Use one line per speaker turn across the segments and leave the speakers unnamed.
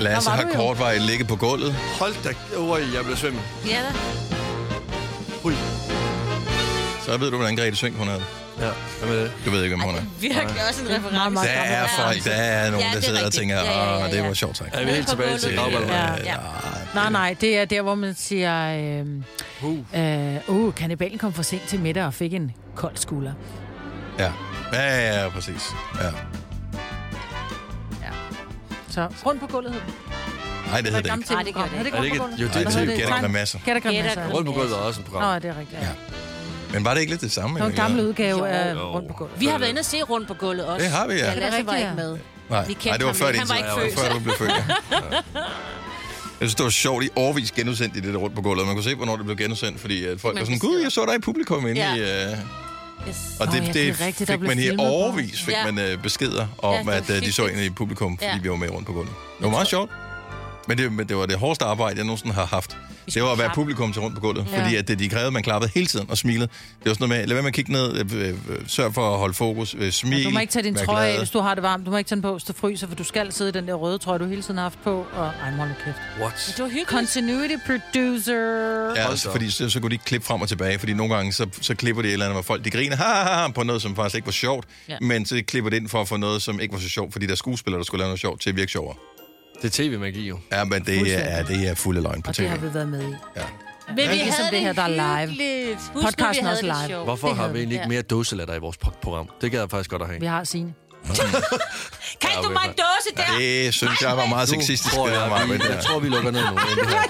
Lasse
var
har
du jo.
kort vej ligget på gulvet.
Hold da, øj, jeg blev svimmel.
Ja, da.
Ui.
Så ved du, hvordan Grete Sving hun havde.
Ja, hvad med det?
Du ved ikke, om hun er.
Virkelig også en reference.
Der er folk, der er nogen,
Ja,
der
det er
sidder og
rigtigt.
tænker,
Ja, ja, ja,
ah, det
ja.
var sjovt, tak.
Er vi helt tilbage til
Øh,
gravballerne? Ja.
Ja.
nej.
Nej, nej, det er der, hvor man siger, øh, øh, uh, kanibalen kom for sent til middag og fik en kold skulder.
Ja, ja, ja, ja, præcis. Ja.
Så rundt på gulvet hed den.
Nej, det hedder det ikke.
Nej, det gør det ikke.
Er det ikke- jo, det er
Nej, det
Hvad
hedder
hedder
Gæt ikke med masser.
Gætter
Gæt og
grammasser.
Grammasser.
Rundt på gulvet er også et program.
Nå, det er rigtigt. Ja.
Men var det ikke lidt det samme?
Det var en
egentlig?
gammel udgave af
Jo.
rundt på gulvet.
Vi har været inde og se rundt på gulvet også.
Det har vi, ja.
Men Lasse var
rigtigt,
ikke
ja.
med.
Nej,
Vi kendte
nej det var
ham
før
ikke.
din
Han var
tid.
ikke
Det var
født.
Før du blev født, ja. Jeg synes, det var sjovt i årvis genudsendt i det der rundt på gulvet. Man kunne se, hvornår det blev genudsendt, fordi øh, folk
man
var sådan,
beskeder.
gud, jeg så dig i publikum inde
Ja.
i... Øh,
Yes.
og
Åh,
det,
ja,
det,
det er
det
rigtigt,
fik
der blev
man her
filmet på.
overvis, fik
Ja.
man øh, beskeder
Ja, det
om,
var
at øh, de så
hyggeligt.
ind i publikum, fordi
Ja.
vi var med rundt på gulvet. Det var meget sjovt. Men det, men det var det hårdeste arbejde, jeg nogensinde har haft. Det var at være
klappe.
publikum til rundt på gulvet. Ja. Fordi at det, de krævede, man klappede hele tiden og smilede. Det var sådan noget med, lad være med at kigge ned, øh, øh, sørg for at holde fokus, øh, smil.
Du må ikke tage din
vær
trøje af,
glad.
hvis du har det varmt. Du må ikke tage den på, hvis du fryser, for du skal sidde i den der røde trøje, du hele tiden har haft på. Og ej, hold nu kæft.
What?
Det var hyggeligt.
Continuity producer.
Ja,
Hold da
altså,
op.
fordi så, så kunne de ikke klippe frem og tilbage, fordi nogle gange, så, så klipper de et eller andet, hvor folk de griner ha, ha, ha, på noget, som faktisk ikke var sjovt,
Ja.
ja. men så klipper det ind for at få noget, som ikke var så sjovt, fordi der er skuespillere, der skulle lave noget sjovt til at virke sjovere.
Det er tv-magi jo.
Ja, men det er, det er fulde løgn på
Og det
tv.
har vi været med i.
Men vi
Ligesom
havde
det her, der er live.
hyggeligt. Husk, nu,
Podcasten
vi
er også
havde det
live.
sjovt.
Hvorfor
det
har
havde
vi
vi.
egentlig ikke mere dåselatter i vores pro- program? Det gad jeg faktisk godt at have.
Vi har sine.
Kaldte du mig en dåse der?
Det synes jeg var meget sexistisk, det der var med
vi, jeg
der.
tror, vi lukker ned nu. Det, her,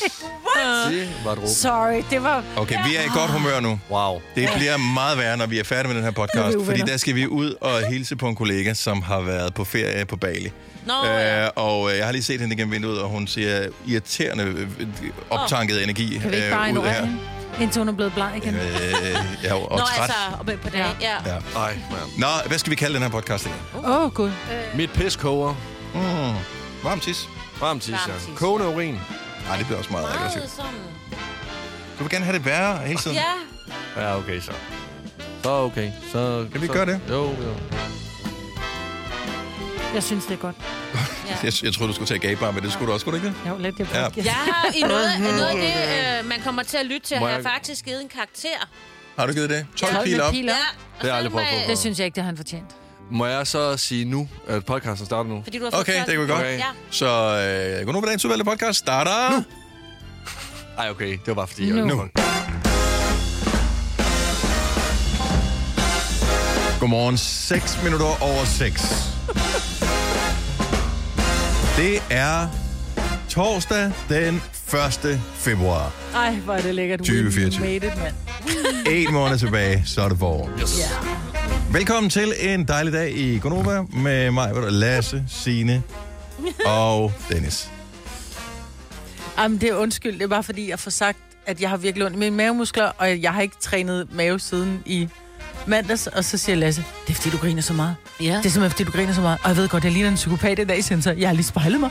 det, det var et råb.
Sorry, det var...
Okay, vi er i godt humør nu.
Wow.
Det bliver meget værre, når vi er færdige med den her podcast, fordi der skal vi ud og hilse på en kollega, som har været på ferie på Bali.
Nå, ja.
øh, og øh, jeg har lige set hende gennem vinduet, og hun ser irriterende øh, optanket energi
Kan vi ikke bare
øh, ud
ignorere
her.
hende? Indtil hun er blevet bleg igen.
Øh, ja, og
Nå,
træt.
altså, og med- på det. Ja.
Ja.
Ej, man.
Nå, hvad skal vi kalde den her podcast? egentlig?
Åh, oh, gud.
Mit pis koger.
Mm. Varm tis.
Varm tis,
Varm
ja.
tis.
Kogende urin.
Nej, det bliver også meget
Meget
aggressivt.
sådan.
Du vil gerne have det værre hele tiden.
Ja.
Ja, okay, så. Så okay. Så,
Kan vi
så-
gøre det?
Jo, jo.
Jeg synes, det er godt.
Jeg, jeg troede, du skulle tage gaybar, men det skulle du også, skulle du ikke det?
Jo, lidt det
Ja.
ja.
Jeg har i noget, noget af det, øh, man kommer til at lytte til,
Må
har jeg
jeg-
faktisk givet en karakter.
Har du givet det? 12 ja, pil
med
op.
pil op.
Ja.
Det
og
har jeg aldrig
så må
prøvet
jeg-
på.
Det synes jeg ikke, det har han fortjent.
Må jeg så sige nu, at podcasten starter nu?
Fordi du har fået
Okay, det kan vi godt.
Okay.
Ja.
Så øh, godnår på dagens udvalgte podcast starter... Nu.
Ej, okay. Det var bare fordi,
Nu.
jeg...
Nu. Godmorgen, 6 minutter over 6. Det er torsdag den 1. februar.
Ej, hvor er det lækkert. We
2024.
Made it, mand.
En måned tilbage, så er det forår.
Yes.
Velkommen til en dejlig dag i Gonova med mig, hvor der er Lasse, Sine og Dennis.
Jamen, det er undskyld. Det er bare fordi, jeg får sagt, at jeg har virkelig ondt i mine mavemuskler, og jeg har ikke trænet mave siden i mandags. Og så siger Lasse, det er fordi, du griner så meget.
Ja.
Det er simpelthen, fordi du griner så meget. Og jeg ved godt, jeg ligner en psykopat i dag, sensor. Jeg har lige spejlet mig.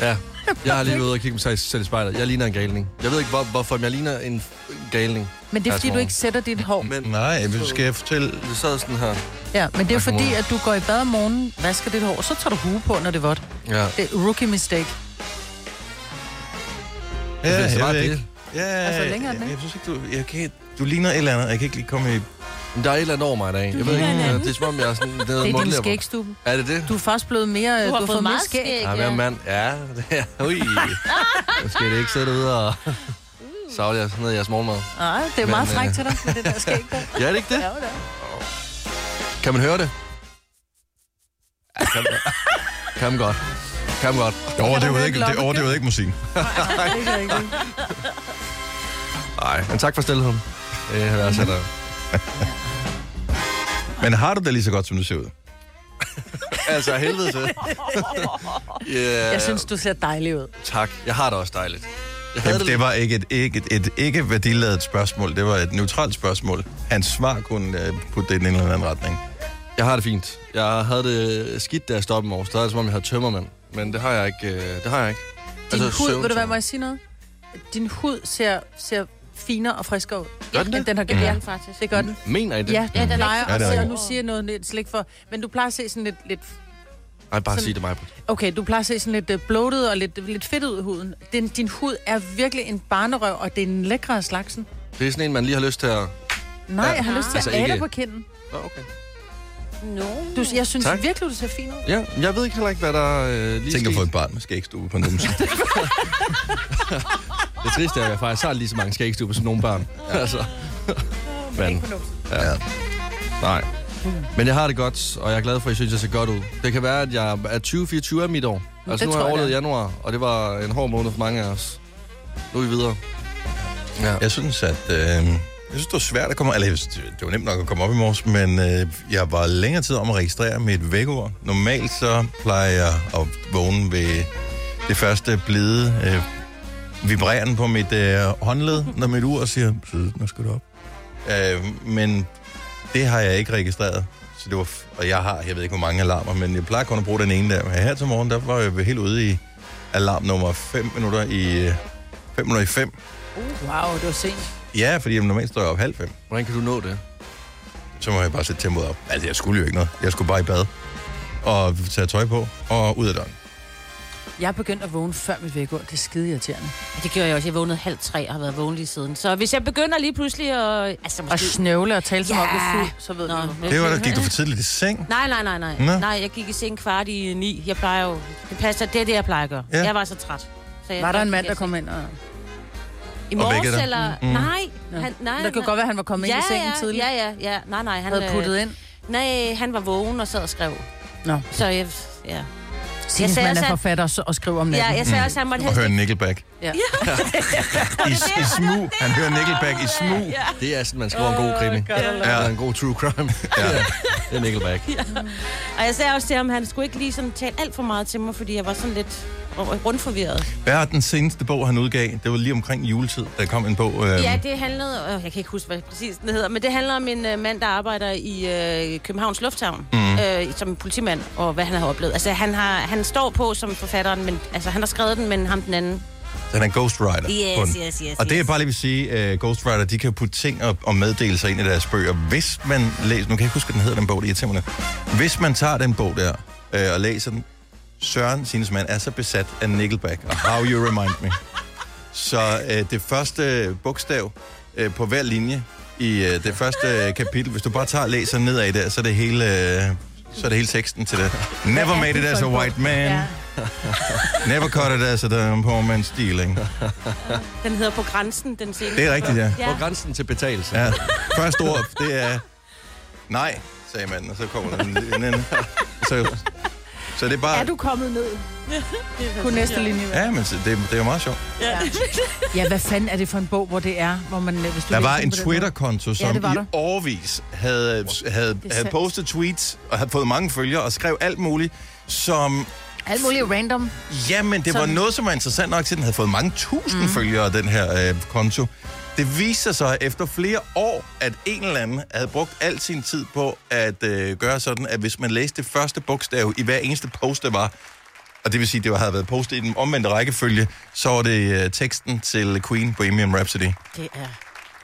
Ja, jeg har lige været ude og kigge på sig selv i spejlet. Jeg ligner en galning. Jeg ved ikke, hvor, hvorfor, men jeg ligner en f- galning.
Men det er,
Ja,
fordi
tror
du
jeg.
ikke sætter dit hår.
Men
Nej, vi skal jeg fortælle...
det sad sådan her.
Ja, men det er
Tak,
fordi,
mor.
at du går i bad om morgenen, vasker dit hår, og så tager du hue på, når det er vådt.
Ja.
Det er rookie mistake.
Ja,
det er så
jeg
meget
ved
det.
ikke. Ja,
Altså, længere den,
jeg,
ikke?
jeg, synes ikke, du... Jeg kan, du ligner et eller andet. Jeg kan ikke lige komme i...
Men der er et eller andet over mig i dag. Jeg ved ikke, ja, det er som om, jeg er sådan nede
Det er din
mundlæber.
skægstube.
Er det det?
Du er først blevet mere...
Du har,
mere
fået, meget skæg.
Ja, men mand. Ja, det er. Ui. Nu skal det ikke sidde derude og
Uh.
savle jeres, ned i jeres morgenmad.
Nej, det er meget
Men, øh,
frækt til dig med det der skæg der.
Ja, er det ikke det?
Ja, det er.
Kan man høre det? Ja, kan, man, kan man godt. Kan man godt.
Det overdøvede ikke, det overdøvede ikke musikken.
Nej, men tak for stillheden. Det har været sådan.
Men har du det lige så godt, som du ser ud?
Altså, helvede til. yeah.
Jeg synes, du ser dejlig ud.
Tak. Jeg har det også dejligt. Jeg havde
Det, det var ikke et, ikke, et, et ikke værdiladet spørgsmål. Det var et neutralt spørgsmål. Hans svar kunne uh, putte det i en eller anden retning.
Jeg har det fint. Jeg havde det skidt, da jeg stoppede i morges. Der er det, som om jeg havde tømmermand. Men det har jeg ikke. øh, Det har jeg ikke.
Din hud,
Altså,
vil du være,
søvntømmer.
må jeg sige noget? Din hud ser, ser finere og friskere ud.
Gør
end
den det?
den har gjort.
Ja,
Ja,
faktisk.
det gør den.
Mener I det?
Ja,
Ja,
den
den er
plejer
ikke
Ja,
at
det er
se, og
rigtigt.
nu siger jeg noget lidt slik for, men du plejer at se sådan lidt, lidt
Nej, bare
Sådan-
sig det mig.
Okay, du plejer at se sådan lidt øh, bloated og lidt, lidt fedt ud i huden. Din, din hud er virkelig en barnerøv, og det er en lækre af slagsen.
Det er sådan en, man lige har lyst til at...
Nej,
Ja.
jeg har lyst til
Altså
at altså
ikke-
på kinden.
Nå, okay.
No.
Du, jeg synes
Tak.
tak. virkelig, du ser fin ud.
Ja, men jeg ved ikke heller ikke, hvad der øh, lige
Tænk at få
skete.
et barn med skægstube på en numse.
Det triste er, at jeg faktisk har lige så mange skægstuber som nogle børn. altså. Men, ja. Nej. Men jeg har det godt, og jeg er glad for, at I synes, jeg ser godt ud. Det kan være, at jeg er 2024 af mit år. Altså,
det tror
nu har jeg
jeg,
overlevet
det
januar, og det var en hård måned for mange af os. Nu er vi videre. Ja.
Jeg synes, at... Øh, jeg synes, det var svært at komme... Eller, jeg synes, det det var nemt nok at komme op i morges, men øh, jeg var længere tid om at registrere mit vækord. Normalt så plejer jeg at vågne ved det første blide øh, vibreren på mit øh, håndled, når mit ur siger, "Så, nu skal du op. Øh, men det har jeg ikke registreret. Så det var f- og jeg har, jeg ved ikke, hvor mange alarmer, men jeg plejer kun at bruge den ene der. Men her til morgen, der var jeg helt ude i alarm nummer 5 minutter i... 5 minutter i 5.
Uh, Wow, det var sent.
Ja, fordi normalt står jeg op halv fem.
Hvordan kan du nå det?
Så må jeg bare sætte tempoet op. Altså, jeg skulle jo ikke noget. Jeg skulle bare i bad. Og tage tøj på. Og ud af døren.
Jeg er begyndt at vågne før mit vækord. Det er skide irriterende.
Det gjorde jeg også. Jeg vågnede halv tre og har været vågen lige siden. Så hvis jeg begynder lige pludselig at... Altså,
Og
måske...
snøvle og tale som
Ja.
om, du er fuld, så ved du.
Det var da, gik du for tidligt i seng.
Nej, nej, nej, nej.
Nå.
Nå. Nej, jeg gik i seng kvart i ni. Jeg plejer jo... Det passer, det er det, jeg plejer at gøre.
Ja.
Ja. Jeg var så træt. Så jeg
Var der en mand,
gik
der
i seng.
kom ind og...
I
Og
morges,
vækkede dig?
eller... Mm. Nej, han, nej.
Der kan
nej.
godt være, at han var kommet ind i sengen
ja,
tidligt.
Ja, ja, ja. Nej, nej. Han
Havde
øh,
puttet ind.
Nej, han var vågen og sad og skrev.
Nå.
Så jeg... Ja,
Sines,
sagde
man
også,
er
at-
forfatter og s- og skriver om
ja
natten.
jeg sagde også, at han måtte
Mm. Og
helst
høre Nickelback.
Ja.
I, I smug. Han hører Nickelback i smug.
Det er sådan, man skriver en god krimi. Ja. Eller en god true crime. ja. Det er Nickelback.
Og jeg sagde også til ham, at han skulle ikke lige sådan tale alt for meget til mig, fordi jeg var sådan lidt rundt forvirret.
Hvad er den seneste bog, han udgav? Det var lige omkring juletid, der kom en bog. Øh,
Ja, det handlede, øh, jeg kan ikke huske, hvad præcis den hedder, men det handler om en øh, mand, der arbejder i øh, Københavns Lufthavn
Mhm.
mm. øh, som politimand, og hvad han har oplevet. Altså, han, har, han står på som forfatteren, men altså, han har skrevet den, men ham den anden.
Den er Ghost Rider.
Yes,
på den.
yes, yes,
Og det er
yes.
bare lige vil sige, uh, Ghost Rider, de kan putte ting og, og meddelelser ind i deres bøger. Hvis man læser, nu kan jeg ikke huske, hvad den hedder, den bog, det irriterer mig lidt. Hvis man tager den bog der uh, og læser den, Søren Sinesmann er så besat af Nickelback og How You Remind Me. Så uh, det første bogstav uh, på hver linje i uh, det første kapitel, hvis du bare tager og læser nedad der, så er det hele... Uh, så er det hele teksten til det. Mm. Never made it as a white man.
Ja.
Never cut it as a damn poor man's stealing.
Den hedder På Grænsen, den seneste.
Det er rigtigt, ja.
På
Ja.
grænsen til betalelse.
ja. Første ord, det er nej, sagde manden, og så kommer den en anden. Så, så det er bare...
Er du kommet ned? Kun næste linje.
Ja, men så det, det er jo meget sjovt.
Ja, hvad fanden er det for en bog, hvor det er, hvor man... øh, Hvis du
Der
læser
var
den
en
på den
Twitter-konto, som
det var
i
der.
årvis havde, havde, havde
sandt.
postet tweets og havde fået mange følgere og skrev alt muligt, som...
måde. Alt muligt random.
Jamen, det var
Som-
noget, som var interessant nok til, at den havde fået mange tusind mm. følgere, den her øh, konto. Det viste sig så efter flere år, at en eller anden havde brugt al sin tid på at øh, gøre sådan, at hvis man læste det første bogstav i hver eneste post, der var, og det vil sige, at det var- havde været postet i den omvendte rækkefølge, så var det øh, teksten til Queen Bohemian Rhapsody.
Det er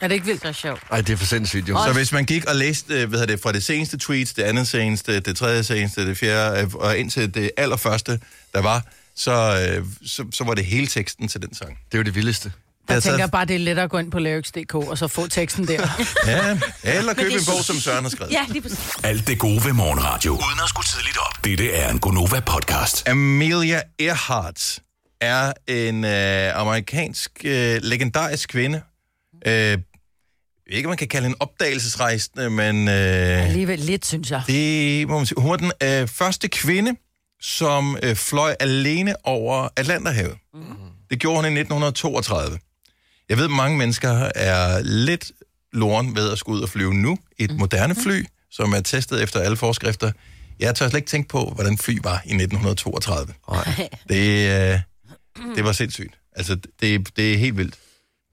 Er det ikke vildt?
så sjovt.
Ej, det er for sindssygt, jo.
Så hvis man gik og læste øh, hvad hedder det, fra det seneste tweet, det andet seneste, det tredje seneste, det fjerde, øh, og indtil det allerførste, der var, så, øh, så, så var det hele teksten til den sang.
Det er jo det vildeste.
Det
Jeg
har
tænker
taget-
bare, det er lettere at gå ind på lyrics.dk og så få teksten der.
Ja, eller købe
det er
en bog,
så-
som Søren har skrevet.
Ja, lige præcis.
Alt det gode ved morgenradio. Uden at skulle tidligt op. Dette er en Gonova-podcast.
Amelia Earhart er en øh, amerikansk øh, legendarisk kvinde. Øh, jeg ved ikke, om man kan kalde hende opdagelsesrejsende, men øh,
Alligevel lidt, synes jeg.
det må man sige. Hun var den øh, første kvinde, som øh, fløj alene over Atlanterhavet. Det gjorde hun i 1932. Jeg ved, at mange mennesker er lidt loren ved at skulle ud og flyve nu. Et moderne fly, som er testet efter alle forskrifter. Jeg tør slet ikke tænke på, hvordan fly var i 1932. Det, øh, det var sindssygt. Altså, det, det er helt vildt.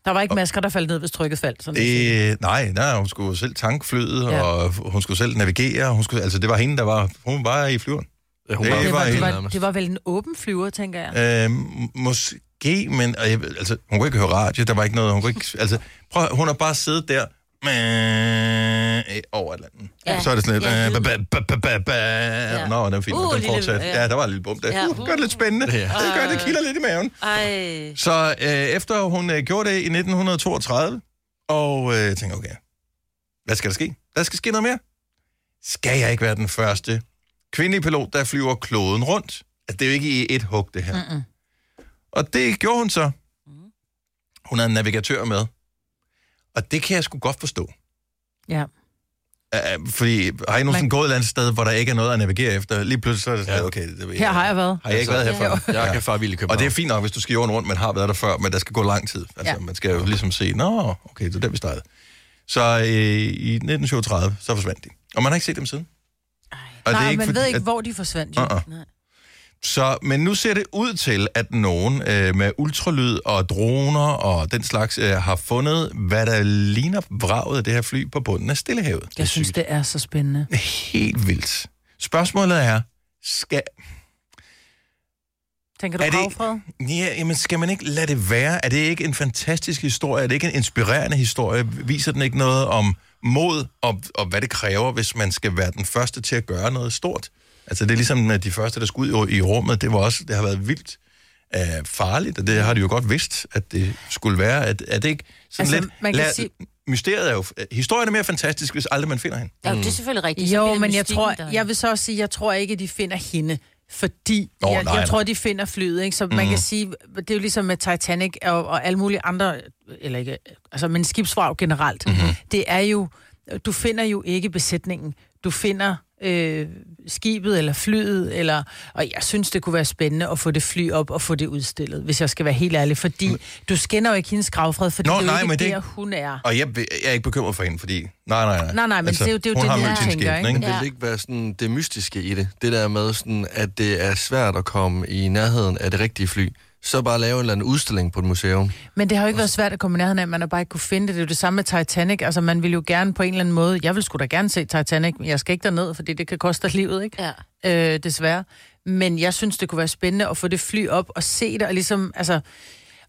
Der var ikke masker, der faldt ned, hvis trykket faldt. Sådan det...
Det, nej, nej, hun skulle selv tanke flyet,
Ja.
ja. og hun skulle selv navigere. Hun skulle, altså, det var hende, der var... Hun var i flyveren.
Ja, hun
Det
var-
Det var, det,
helt
var,
nærmest.
det var vel en åben flyver, tænker jeg.
Øh, måske, men og jeg, ved- altså, hun kunne ikke høre radio, der var ikke noget, hun kunne ikke, altså, prøv, at- hun har bare siddet der mæh, over Atlanten.
Ja.
Ja. Så er det sådan lidt... øh,
Ja,
Ja,
lyden.
ja. Nå, den var fint.
Uh,
Uh, den
lille-
fortsatte.
ja.
Ja, der var en lille bum der.
Ja.
Uh, gør det lidt spændende.
Ja.
Det gør, det kilder lidt i maven.
Mm.
Ej.
Så øh, efter hun øh, gjorde det i 1932, og øh, tænkte, okay, hvad skal der ske? Der skal ske noget mere. Skal jeg ikke være den første kvindelige pilot, der flyver kloden rundt? Altså, det er jo ikke i et hug, det her.
Mm-mm. Mm.
Og det gjorde hun så. Hun havde en navigatør med. Og det kan jeg sgu godt forstå.
Ja.
Uh, fordi har I nogensinde gået et eller andet sted, hvor der ikke er noget at navigere efter? Lige pludselig så er det sådan,
Ja.
okay, det, ved
Her har jeg været.
Har jeg ikke været her før?
Jeg kan far vildt købe
Og det er fint nok, hvis du skal jorden rundt, man har været der før, men der skal gå lang tid. Altså, ja.
Ja.
man skal jo ligesom se, nå, okay, det er der, vi startede. Så øh, i 1937, så forsvandt de. Og man har ikke set dem siden. Og
Nej, man
fordi,
ved ikke,
at-
hvor de forsvandt. Jo.
Uh-uh.
Nej.
så, men nu ser det ud til, at nogen øh, med ultralyd og droner og den slags øh, har fundet, hvad der ligner vraget af det her fly på bunden af Stillehavet.
Jeg synes, det er så spændende.
Helt vildt. Spørgsmålet er, skal,
Tænker du
Er det-
havfred?
Ja, jamen skal man ikke lade det være? Er det ikke en fantastisk historie? Er det ikke en inspirerende historie? Viser den ikke noget om mod og, og hvad det kræver, hvis man skal være den første til at gøre noget stort? Altså det er ligesom at de første, der skulle ud i, i rummet, det, var også, det har været vildt øh, farligt, og det har de jo godt vidst, at det skulle være. At, er det ikke sådan
Altså,
lidt...
man kan sige-
Mysteriet er jo... Historien er mere fantastisk, hvis aldrig man finder hende.
Ja, det er selvfølgelig rigtigt. Så
Jo,
bliver
men jeg
mystikken
tror,
der.
jeg vil så også sige, jeg tror ikke, at de finder hende, fordi
Nå,
oh, jeg,
nej, nej. Mhm.
jeg tror, de finder flyet, ikke? Så man kan sige, det er jo ligesom med Titanic og, og alle mulige andre, eller ikke, altså, men skibsvrag generelt.
Mhm.
Mm-hmm. Det er jo, du finder jo ikke besætningen. Du finder øh, skibet eller flyet, eller, og jeg synes, det kunne være spændende at få det fly op og få det udstillet, hvis jeg skal være helt ærlig, fordi du skinner jo ikke hendes gravfred, fordi
Nå,
Nå, det er jo
nej,
nej, ikke
men det-
der, hun er.
Og jeg, jeg er ikke bekymret for hende, fordi... Nej, nej, nej.
Nej, nej, men det er jo- det er jo
hun
det,
har
jeg
mødt sin
tænker,
skæbne,
ikke?
Men vil det ikke være sådan det mystiske i det? Det der med, sådan, at det er svært at komme i nærheden af det rigtige fly. Så bare lave en eller anden udstilling på et museum.
Men det har jo ikke været svært at komme i nærheden af, man har bare ikke kunne finde det. Det er jo det samme med Titanic. Altså, man vil jo gerne på en eller anden måde... Jeg vil sgu da gerne se Titanic, men jeg skal ikke derned, fordi det kan koste dig livet, ikke?
Ja.
Øh, desværre. Men jeg synes, det kunne være spændende at få det fly op og se det, og ligesom... Altså,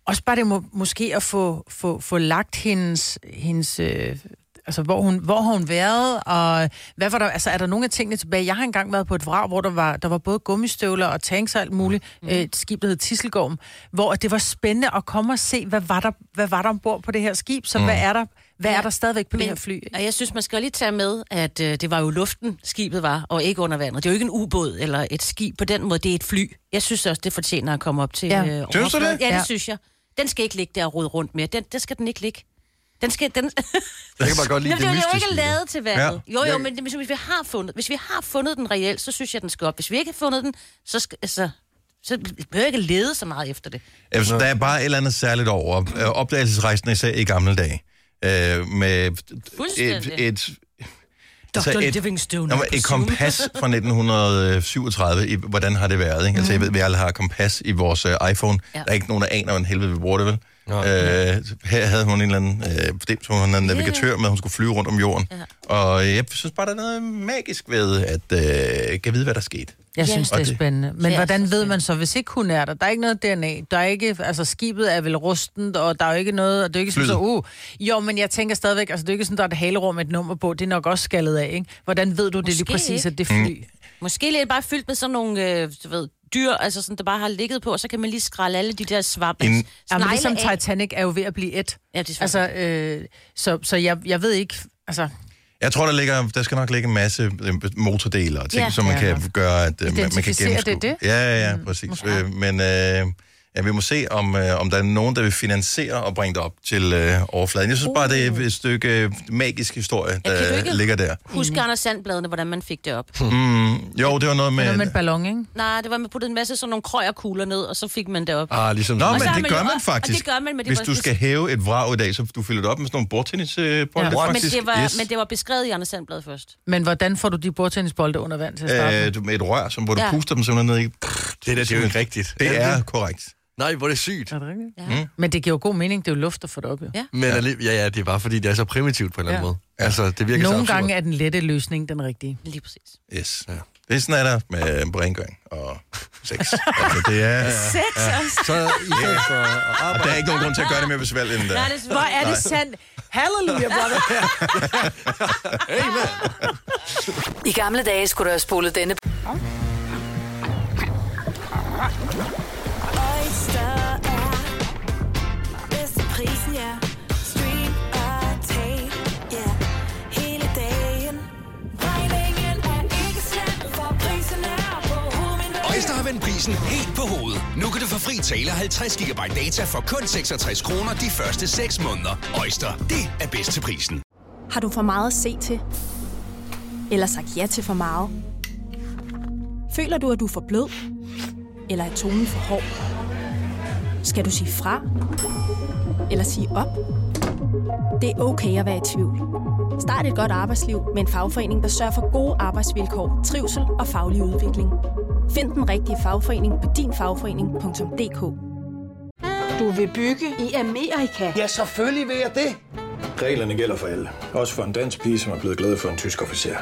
også bare det må, måske at få, få, få lagt hendes... hendes øh, Altså, hvor, hun, hvor har hun været, og hvad var der, altså, er der nogle af tingene tilbage? Jeg har engang været på et vrag, hvor der var, der var både gummistøvler og tanks og alt muligt. Mm. Et skib, der hed Tisselgården, hvor det var spændende at komme og se, hvad var der, hvad var der ombord på det her skib, så mm. hvad er der, hvad er der stadigvæk på det her fly? Ikke?
Og jeg synes, man skal lige tage med, at øh, det var jo luften, skibet var, og ikke under vandet. Det er jo ikke en ubåd eller et skib på den måde, det er et fly. Jeg synes også, det fortjener at komme op til
Ja.
ja. øh,
Synes
du
overfladen.
det?
Ja, det
Ja.
synes jeg. Den skal ikke ligge der og rode rundt mere. Den, der skal den ikke ligge. Den skal, den,
Jeg kan bare godt lide det,
Jamen, det er jo
mystiske.
ikke
i det.
lavet til vandet. Ja. Jo, jo,
Jeg-
men det- hvis vi har fundet, hvis vi har fundet den reelt, så synes jeg, den skal op. Hvis vi ikke har fundet den, så skal, altså, så behøver jeg ikke lede så meget efter det.
Altså, der er bare et eller andet særligt over øh, opdagelsesrejsen, især i gamle dage. Øh, med
Fuldstændig.
et, et, altså
Dr.
et-
Livingstone
Nå, men
er på
et
Zoom.
kompas fra 1937, i, hvordan har det været? Ikke? Altså, jeg ved, vi alle har kompas i vores øh, iPhone.
Ja.
Ja. Der er ikke nogen, der aner, hvordan helvede vi bruger det, vel?
Nå.
Øh, her havde hun en eller anden, øh, det, hun havde en navigatør med, hun skulle flyve rundt om jorden. Ja. Og jeg synes bare, der er noget magisk ved, at øh, kan vide, hvad der skete.
Jeg synes,
Og
det er
det-
spændende. Men
er så
hvordan ved
spændende.
man så, hvis ikke hun er der? Der er ikke noget DNA. Der er ikke, altså skibet er vel rustent, og der er jo ikke noget, og det er jo ikke sådan så, uh. Jo, men jeg tænker stadigvæk, altså det er jo ikke sådan, der er et halerum med et nummer på. Det er nok også skaldet af, ikke? Hvordan ved du det lige
Måske
præcis,
ikke.
at det fly? Mm.
Måske lidt bare fyldt med sådan nogle, øh, du ved, dyr, altså sådan, der bare har ligget på, og så kan man lige skralde alle de der svamp.
En-
En...
Ja, men ligesom Titanic er jo ved at blive et.
Ja, det er altså,
Altså, øh, så, så jeg, jeg ved ikke, altså,
Jeg tror, der, ligger, der skal nok ligge en masse øh, motordele og ting, ja,
Ja.
som man
Ja,
kan
nok.
gøre, at øh, man, man kan
Identificere
gennemskue.
det, det?
Ja, ja,
Mm.
ja, præcis. Øh, Men øh, ja, vi må se, om, øh, om der er nogen, der vil finansiere og bringe det op til øh, overfladen. Jeg synes bare, det er et stykke øh, magisk historie,
Uh. Ja, kan du
der
ikke-
ligger der.
Husk Anders Sandbladene, hvordan man fik det
Hmm.
op.
Jo, det var noget med...
noget med en ballon, ikke?
Nej, det var, at man puttede en masse sådan nogle krøjerkugler ned, og så fik man det op.
Ah, ligesom
Nå,
sådan-
men
så har
det
man
gør
jo-
man
og- og
faktisk.
det gør man, men det
Hvis
var-
du skal hæve et vrag i dag, så du fylder det op med sådan nogle bordtennisbolde,
Ja.
ja,
men,
faktisk.
det var,
yes.
men det var beskrevet i Anders Sandblad først.
Men hvordan får du de bordtennisbolde under vand til at starte? med?
Øh, du- med et rør, som, hvor du
Ja.
puster dem simpelthen ned i.
Det, der, det er jo ikke rigtigt.
Det er korrekt.
Nej, hvor er det sygt.
Er det rigtigt?
Ja.
Mm. Men det giver jo god mening, det er jo luft at få det op, jo.
Ja.
Men ja. ja, ja, det er bare fordi, det er så primitivt på en eller anden
Ja.
måde. Altså, det virker så
Nogle
absurd.
gange er den lette løsning den rigtige.
Lige præcis.
Yes. Ja. Det er sådan, er der med rengøring og sex. Altså, det er...
Sex også.
Så i stedet for at
Og
arbejde...
der er ikke nogen grund til at gøre det mere besværligt end øh, det.
Nej, det
Hvor er det sandt? Halleluja, brother.
I gamle dage skulle du have spolet denne
Oyster er bedst til prisen, ja. Stream og tag, ja. Hele dagen. Regningen er ikke slem, for prisen er på hovedet.
Øjster har vendt prisen helt på hovedet. Nu kan du få fri tale 50 GB data for kun 66 kroner de første 6 måneder. Øjster, det er bedst til prisen.
Har du for meget at se til? Eller sagt ja til for meget? Føler du, at du er for blød? Eller er tonen for hård? Skal du sige fra? Eller sige op? Det er okay at være i tvivl. Start et godt arbejdsliv med en fagforening, der sørger for gode arbejdsvilkår, trivsel og faglig udvikling. Find den rigtige fagforening på dinfagforening.dk.
Du vil bygge i Amerika?
Ja, selvfølgelig vil jeg det.
Reglerne gælder for alle. Også for en dansk pige, som er blevet glad for en tysk officer.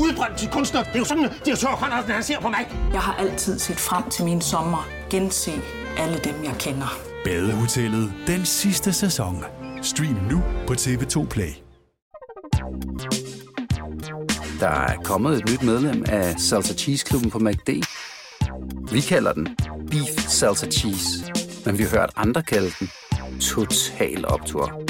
Udbrændt til kunstner. Det er jo sådan, at de har tørt, han ser på mig.
Jeg har altid set frem til min sommer. Gense alle dem, jeg kender.
Badehotellet den sidste sæson. Stream nu på TV2 Play.
Der er kommet et nyt medlem af Salsa Cheese Klubben på MACD. Vi kalder den Beef Salsa Cheese, men vi har hørt andre kalde den Total Optor.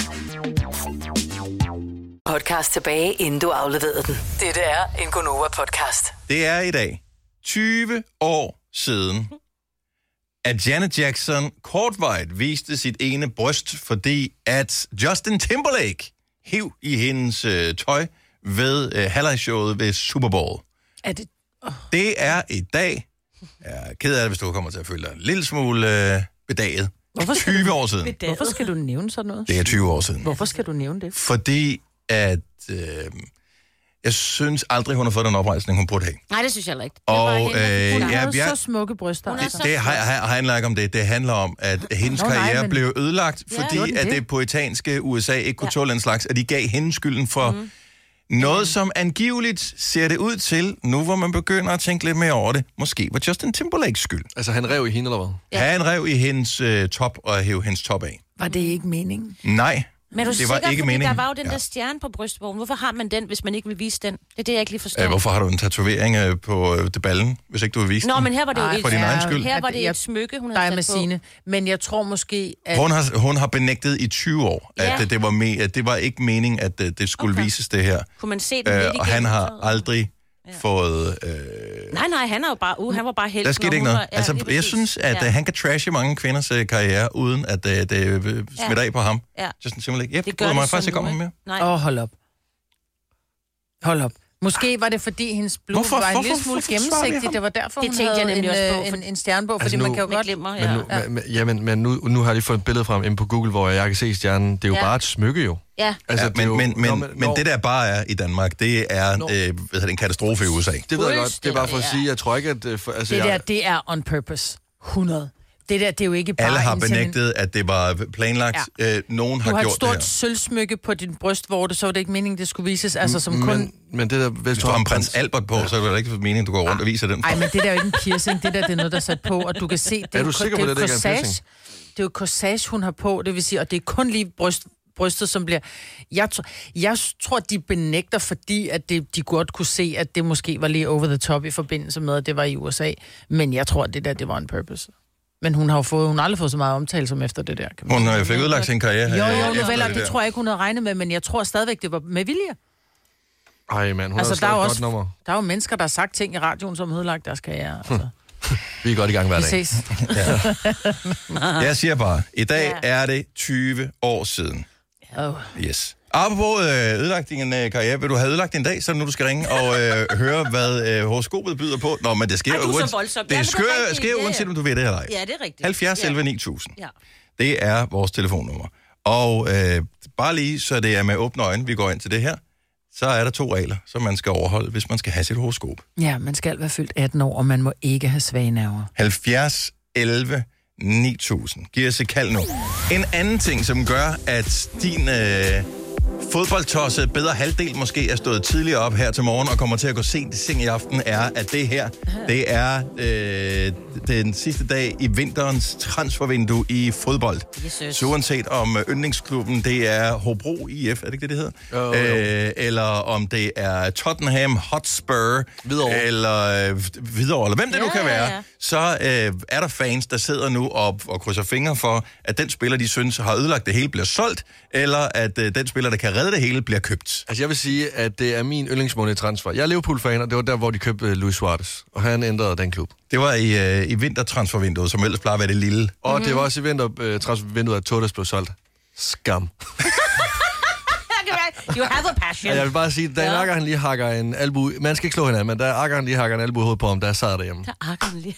podcast tilbage, inden du afleverede den. Dette er en Gonova-podcast.
Det er i dag 20 år siden, at Janet Jackson kortvejt viste sit ene bryst, fordi at Justin Timberlake hiv i hendes øh, tøj ved øh, halvlejshowet ved Super Bowl.
Er det...
Det er i dag. Jeg er ked af det, hvis du kommer til at føle dig en lille smule øh, bedaget.
Hvorfor skal
20 år siden.
Hvorfor skal du nævne sådan noget?
Det er 20 år siden.
Hvorfor skal du nævne det?
Fordi at øh, jeg synes aldrig, hun har fået den oprejsning, hun burde have.
Nej, det synes jeg heller ikke. Det var
Og
hende,
øh,
Hun
der-
har
ja,
jo
jeg,
så smukke bryster.
Hun er så-
det har jeg har- har en like om det. Det handler om, at hendes
Nå, nej,
karriere
men-
blev ødelagt,
Ja.
fordi
Gjorde den
at
det?
det poetanske USA ikke kunne tåle den slags, at de gav hende skylden for
Mhm.
noget, som angiveligt ser det ud til, nu hvor man begynder at tænke lidt mere over det, måske var Justin Timberlakes skyld.
Altså, han rev i hende, eller hvad?
Ja. Han rev i hendes øh, top og hæv hendes top af.
Var det ikke meningen?
Nej,
Men er du
det
sikker,
var ikke
fordi
meningen.
der var jo den ja. der stjerne på brystvognen. Hvorfor har man den, hvis man ikke vil vise den? Det er det, jeg ikke lige forstår.
Æh, Øh, hvorfor har du en tatovering øh, på øh, det ballen, hvis ikke du vil vise
Nå,
den?
men her var det jo
Ej,
et,
for din egen skyld.
Her var det
Jeg-
et smykke, hun havde
Dig
sat
med
på.
sine. Men jeg tror måske, at...
Hun har, hun har benægtet i 20 år, at,
Ja.
ja. det, var me, at det var ikke meningen, at øh, det, det skulle
Okay.
okay. vises det her.
Kunne man se den lidt
Øh,
igennem?
og han har
tøjet?
aldrig ja. fået... Øh,
Nej, nej, han er jo bare... Uh, han var bare heldig.
der skete
når
ikke
hun
noget.
var- ja,
altså,
lige
jeg
præcis.
synes, at ja.
ja.
han kan trashe mange kvinders øh, karriere, uden at øh, det øh, smitter af på ham.
Ja.
Justin Timberlake. Jeg
Det gør
bryder mig
det
faktisk
så
ikke om
nu,
ham mere.
ikke? Nej.
Åh, oh, hold op. Hold op. Måske var det, fordi hendes blod
Hvorfor-
var en
hvorfor-
lille smule
hvorfor forsvarer vi
gennemsigtig. Det var derfor,
Det
hun
tænkte jeg
havde en,
nemlig også på,
øh, en,
fordi-
en stjernebog,
Altså,
fordi man
nu-
kan jo
Med
godt...
glimmer,
Men
ja.
Men nu, ja. men, jamen, men nu, nu har de fået et billede frem inde på Google, hvor jeg kan se stjernen. Det er jo
Ja.
bare et smykke, jo.
Ja.
Altså, ja,
det er
men,
jo-
men, men,
Nå,
men
nå,
det der bare er i Danmark, det er øh,
Nå.
hvad hedder det, en katastrofe i USA.
Det ved jeg godt. Det er bare for at
Fuldstændig,
sige, jeg tror ikke, at... øh, For, altså,
Det der,
jeg,
det er on purpose. 100. Det der, det er jo ikke bare...
Alle har
en sådan en-
benægtet, at det var planlagt. Ja. Øh, nogen
Du
har,
har et
gjort det her.
stort sølvsmykke på din brystvorte, så var det ikke meningen, det skulle vises. Altså, som kun...
men, men det der... Hvis
Hvis du har en prins Albert på, så er det da ikke meningen, at du går rundt og viser den.
Ej, men det der er jo ikke en piercing, det der det er noget, der er sat på, og du kan se, det
Er
jo
du
kun-
sikker på,
det jo
det ikke er en
corsage.
piercing?
Det er jo corsage, hun har på, det vil sige, og det er kun lige bryst, brystet, som bliver... Jeg, tro, jeg tror, de benægter, fordi at det, de godt kunne se, at det måske var lige over the top i forbindelse med, at det var i USA. Men jeg tror, det der, det var en purpose. Men hun har jo fået, hun har aldrig fået så meget omtale som efter det der. Kan man.
Hun øh, fik udlagt sin karriere.
Jo,
øh,
jo,
efter
nu vel,
det
det
der.
tror jeg ikke, hun havde regnet med, men jeg tror stadigvæk, det var med vilje.
Ej, mand, hun altså,
Altså,
har
der er,
slået
jo
et godt nummer.
også, der er jo mennesker, der har sagt ting i radioen, som ødelagt deres karriere. Altså.
Vi er godt i gang hver
Vi
dag.
ses.
Jeg siger bare, i dag
Ja.
er det 20 år siden.
Oh.
Yes. Apropos øh, ødelagt din øh, karriere, vil du have ødelagt en dag, så er det nu du skal ringe og øh, høre, hvad øh, horoskopet byder på? Nå, men det sker
Ej, du er så
uans-
voldsom.
Det
Ja, men det er
sker,
rigtigt.
sker
Ja, ja.
uanset, om du ved det eller ej.
Ja, det er rigtigt.
70
Ja.
11 9000.
Ja.
Det er vores telefonnummer. Og øh, bare lige så det er med åbne øjne, vi går ind til det her, så er der to regler, som man skal overholde, hvis man skal have sit horoskop.
Ja, man skal være fyldt 18 år, og man må ikke have svage nerver.
70 11 9000. Giv os et kald nu. En anden ting, som gør, at din øh, fodboldtosset, bedre halvdel måske, er stået tidligere op her til morgen og kommer til at gå sent i seng i aften, er, at det her, det er øh, den sidste dag i vinterens transfervindue i fodbold.
Jesus.
Så uanset om øh, yndlingsklubben, det er Hobro IF, er det ikke det, det hedder?
Jo, jo.
Øh, eller om det er Tottenham Hotspur, Hvidovre. eller øh, Hvidovre, eller hvem det nu kan være,
ja.
så øh, er der fans, der sidder nu og, og krydser fingre for, at den spiller, de synes har ødelagt det hele, bliver solgt, eller at øh, den spiller, der kan redde det hele, bliver købt.
Altså, jeg vil sige, at det er min yndlingsmåned i transfer. Jeg er Liverpool-fan, og det var der, hvor de købte øh, Luis Suarez. Og han ændrede den klub.
Det var i, øh, i vintertransfervinduet, som ellers plejer at være det lille.
Og
Mhm.
det var også i vinter, øh, transfervinduet, at Torres blev solgt. Skam.
You have a passion.
Ja, jeg vil bare sige, da Akker han lige hakker en albu... Man skal ikke slå hinanden, men da Akker han lige hakker en albu i hovedet på ham, der sad derhjemme.
Der akker den lige.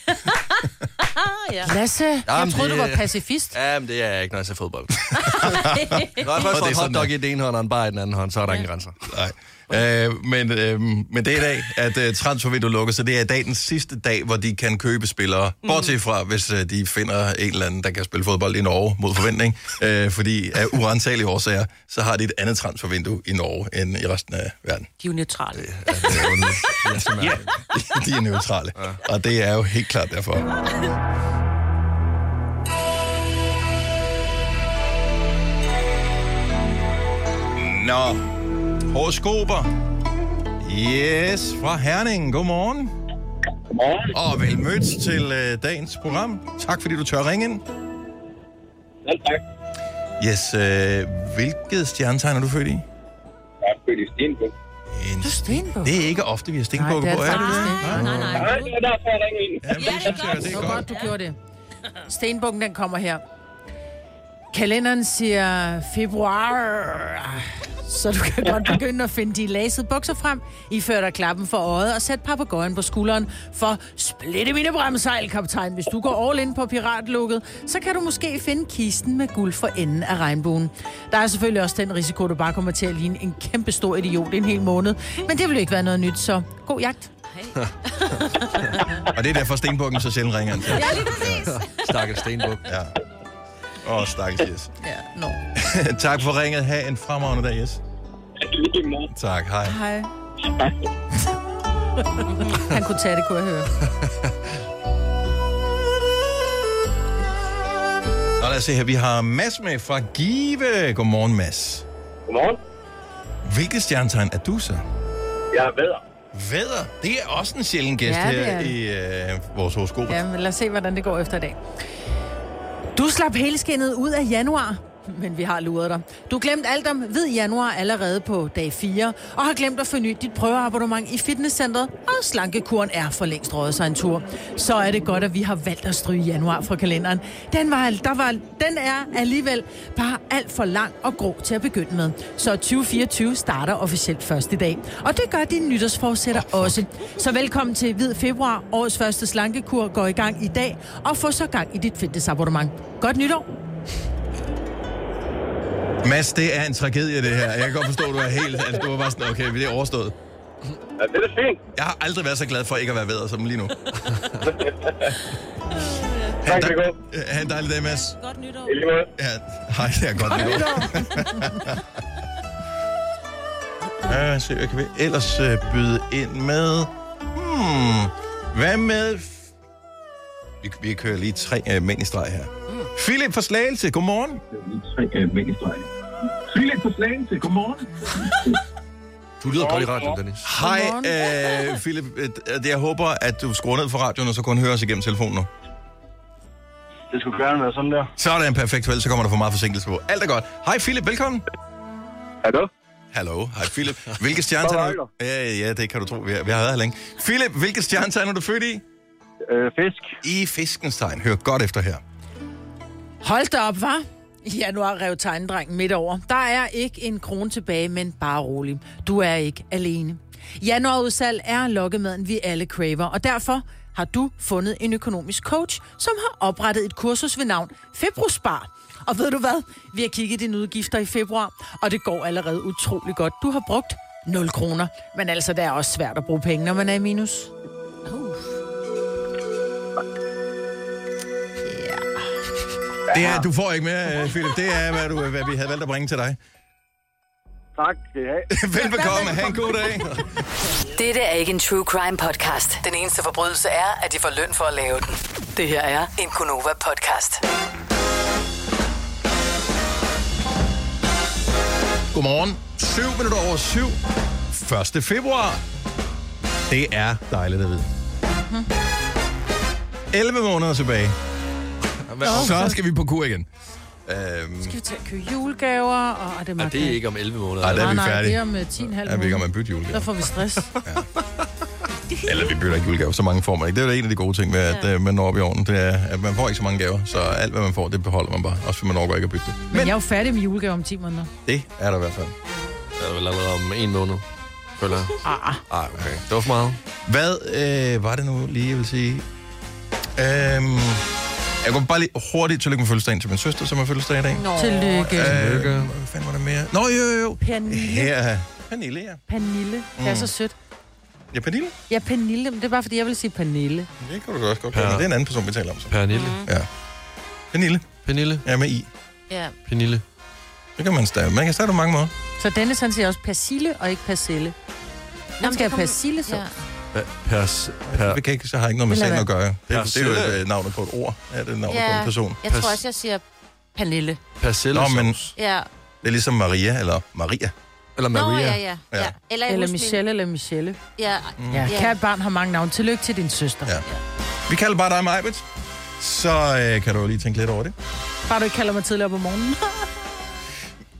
ja.
Lasse, jeg
Jamen,
troede,
det-
du var pacifist.
Jamen, det er jeg ikke, når jeg ser fodbold. Når jeg først får en hotdog i den ene hånd og en bar i den anden hånd, så er der ingen grænser.
Nej. Øh, men, øh, men det er i dag, at øh, transfervinduet lukker, så det er i dag den sidste dag, hvor de kan købe spillere. Mm. Bortset fra, hvis øh, de finder en eller anden, der kan spille fodbold i Norge mod forventning. Øh, fordi af urensagelige årsager, så har de et andet transfervindue i Norge end i resten af verden.
De er jo neutrale.
Ja. de er neutrale. Og det er jo helt klart derfor. Nå, horoskoper. Yes, fra Herning. Godmorgen. Godmorgen. Og velmødt til øh, dagens program. Tak fordi du tør ringe ind.
Selv tak.
Yes, øh, hvilket stjernetegn er du født i?
Jeg er født i Stenbuk.
Du er stenbukke. Det er ikke ofte, vi har stenbukke
Nej,
på,
det er
er det det?
Nej, nej, nej.
Nej, det er derfor, jeg ringer ind.
Ja, det er godt. Det er godt, du gjorde det. Stenbukken, den kommer her. Kalenderen siger februar, så du kan godt begynde at finde de lasede bukser frem. I fører dig klappen for øjet og sæt papegøjen på skulderen for splitte mine bremsejl, kaptajn. Hvis du går all in på piratlukket, så kan du måske finde kisten med guld for enden af regnbuen. Der er selvfølgelig også den risiko, at du bare kommer til at ligne en kæmpe stor idiot en hel måned. Men det vil jo ikke være noget nyt, så god jagt.
Og det er derfor stenbukken så sjældent ringer. Ja, lige præcis.
Stakkels stenbuk.
Ja. Åh, oh, stakkels Jes.
Ja, nå.
tak for ringet. Ha' en fremragende dag, Jes. Tak, hej.
Hej. Han kunne tage det, kunne jeg høre.
Og lad os se her, vi har Mads med fra Give. Godmorgen, Mads.
Godmorgen.
Hvilket stjernetegn er du så?
Jeg er bedre.
Vædder, det er også en sjælden gæst
Ja, det
her
er det.
i øh, vores horoskop.
Ja, men lad os se, hvordan det går efter i dag. Du slap helskindet ud af januar, men vi har luret dig. Du glemte alt om hvid januar allerede på dag 4, og har glemt at forny dit prøveabonnement i fitnesscenteret, og slankekuren er for længst røget sig en tur. Så er det godt, at vi har valgt at stryge januar fra kalenderen. Den, var, al- der var, den er alligevel bare alt for lang og grå til at begynde med. Så 2024 starter officielt først i dag. Og det gør dine nytårsforsætter også. Så velkommen til Hvid Februar. Årets første slankekur går i gang i dag. Og få så gang i dit fitnessabonnement. Godt nytår.
Mads, det er en tragedie, det her. Jeg kan godt forstå, at du er helt... Altså, du var bare sådan, okay, det er overstået.
Ja, det er fint.
Jeg har aldrig været så glad for ikke at være vædder som lige nu. ha' en, dej- ha' en dejlig dag, Mads.
Godt nytår.
Ja, hej, det er godt nytår. Ja, se, hvad kan vi ellers øh, byde ind med? Hmm, hvad med... f- Vi, vi kører lige tre øh, mænd i streg her. Mm. Philip fra Slagelse, godmorgen. Tre øh, mænd i streg. Philip fra Slagelse, godmorgen.
Du lyder godt i radioen, Dennis.
Hej, øh, Philip. Øh, det- jeg håber, at du skruer ned for radioen, og så kun hører os igennem telefonen nu.
Det skulle gerne være sådan der.
Sådan, perfekt. Vel, så kommer der for meget forsinkelse på. Alt er godt. Hej, Philip. Velkommen.
Hallo.
Hallo. Hej, Philip. Hvilke stjernetegn er du? Ja, ja, det kan du tro. Vi har, vi har været her længe. Philip, hvilke stjernetegn er du født i?
Øh, fisk.
I fiskens tegn. Hør godt efter her.
Hold da op, var. I januar rev tegnedrengen midt over. Der er ikke en krone tilbage, men bare rolig. Du er ikke alene. Januarudsalg er lokkemaden, vi alle craver, og derfor har du fundet en økonomisk coach, som har oprettet et kursus ved navn Februspar. Og ved du hvad? Vi har kigget dine udgifter i februar, og det går allerede utrolig godt. Du har brugt 0 kroner, men altså, det er også svært at bruge penge, når man er i minus.
Det er, du får ikke mere, øh, Philip. Det er, hvad, du, hvad vi havde valgt at bringe til dig.
Tak, skal I have.
Velbekomme. Ha' en god dag.
Dette er ikke en true crime podcast. Den eneste forbrydelse er, at de får løn for at lave den. Det her er en Gunova-podcast.
Godmorgen. 7 minutter over 7. 1. februar. Det er dejligt at vide.
Mhm.
11 måneder tilbage.
Nå.
Så skal vi på kur igen. Øhm,
Skal vi til at købe julegaver? Og, og det,
Nej, det er ikke om 11 måneder.
Ej, der er vi
nej, nej, det
færdige.
er om øh, 10,5 måneder.
Er vi ikke om at bytte julegaver?
Der får vi stress.
Eller vi bytter ikke julegaver, så mange får man ikke. Det er jo en af de gode ting ved, at ja. man når op i ovnen, det er, at man får ikke så mange gaver. Så alt, hvad man får, det beholder man bare. Også fordi man overgår ikke at bytte det.
Men jeg er jo færdig med julegaver om 10 måneder.
Det er der i hvert fald.
Det er vel allerede om en måned, føler jeg.
Ah.
Ej, okay. Det var for meget.
Hvad øh, var det nu lige, jeg vil sige? Øhm, jeg går bare lige hurtigt tillykke med fødselsdagen til min søster, som har fødselsdag i dag.
Nå. Tillykke.
Øh, hvad fanden var der mere? Nå, jo, jo, jo.
Pernille.
Her. Pernille, ja.
Pernille. Det er
Mm.
så sødt.
Ja, Pernille.
Ja, Pernille. Men det er bare, fordi jeg vil sige Pernille.
Det kan du også godt gøre, men det er en anden person, vi taler om. Så.
Pernille.
Mhm.
Ja. Pernille.
Pernille.
Ja, med i.
Ja.
Pernille.
Det kan man stave. Man kan stave det på mange måder.
Så Dennis, han siger også persille og ikke persille. Han skal have persille, så. Ja.
Pers, per,
vi kan ikke, så har ikke noget med
Eller
sagen at
hvad?
gøre. Det, det er jo
Persille.
et øh, navn på et ord. Ja, det er et navn på en person.
Jeg tror også, jeg siger Pernille.
Persille.
Nå, men
Ja.
det er ligesom Maria, eller Maria.
Eller
Nå, ja, ja. ja. Eller, jeg
Eller
husker min-
Michelle eller Michelle.
Ja.
Mm.
Ja,
Ja.
kært barn har mange navne. Tillykke til din søster.
Ja. Vi kalder bare dig Majbet. Så øh, kan du jo lige tænke lidt over det.
Bare du ikke kalder mig tidligere på morgenen.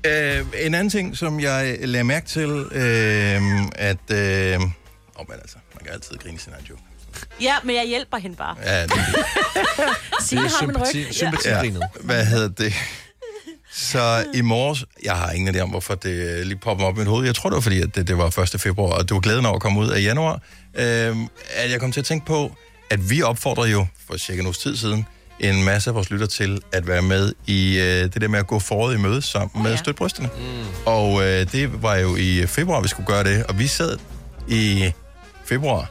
Øh, en anden ting, som jeg lagde mærke til, øh, at... Øh, åh, men altså, man kan altid grine sin egen joke.
ja, men jeg hjælper hende bare.
Ja, det,
Signe har min ryg.
Ja. Hvad hedder det? Så i morges, jeg har ingen idé om, hvorfor det lige popper op i mit hoved. Jeg tror, det var fordi, at det, det var 1. februar, og det var glæden over at komme ud af januar. Øhm, at jeg kom til at tænke på, at vi opfordrer jo for cirka en uges tid siden en masse af vores lytter til at være med i øh, det der med at gå foråret i møde sammen med ja. støtbrysterne. Mm. Og øh, det var jo i februar, vi skulle gøre det, og vi sad i februar,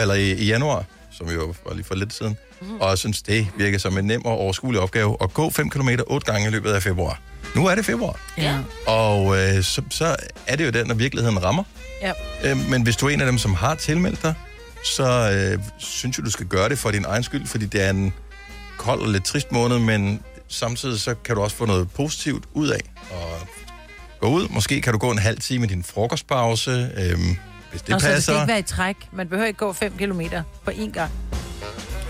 eller i, i januar, som jo var lige for lidt siden,
Mhm.
mm. og jeg synes, det virker som en nem og overskuelig opgave at gå 5 km 8 gange i løbet af februar. Nu er det februar,
Ja.
og øh, så, så er det jo den, når virkeligheden rammer.
ja.
Øh, men hvis du er en af dem, som har tilmeldt dig, så øh, synes jeg, du skal gøre det for din egen skyld, fordi det er en kold og lidt trist måned, men samtidig så kan du også få noget positivt ud af. Og gå ud, måske kan du gå en halv time i din frokostpause, øh, hvis det
Nå, Så det
passer.
skal ikke være i træk. Man behøver ikke gå 5 km på én gang.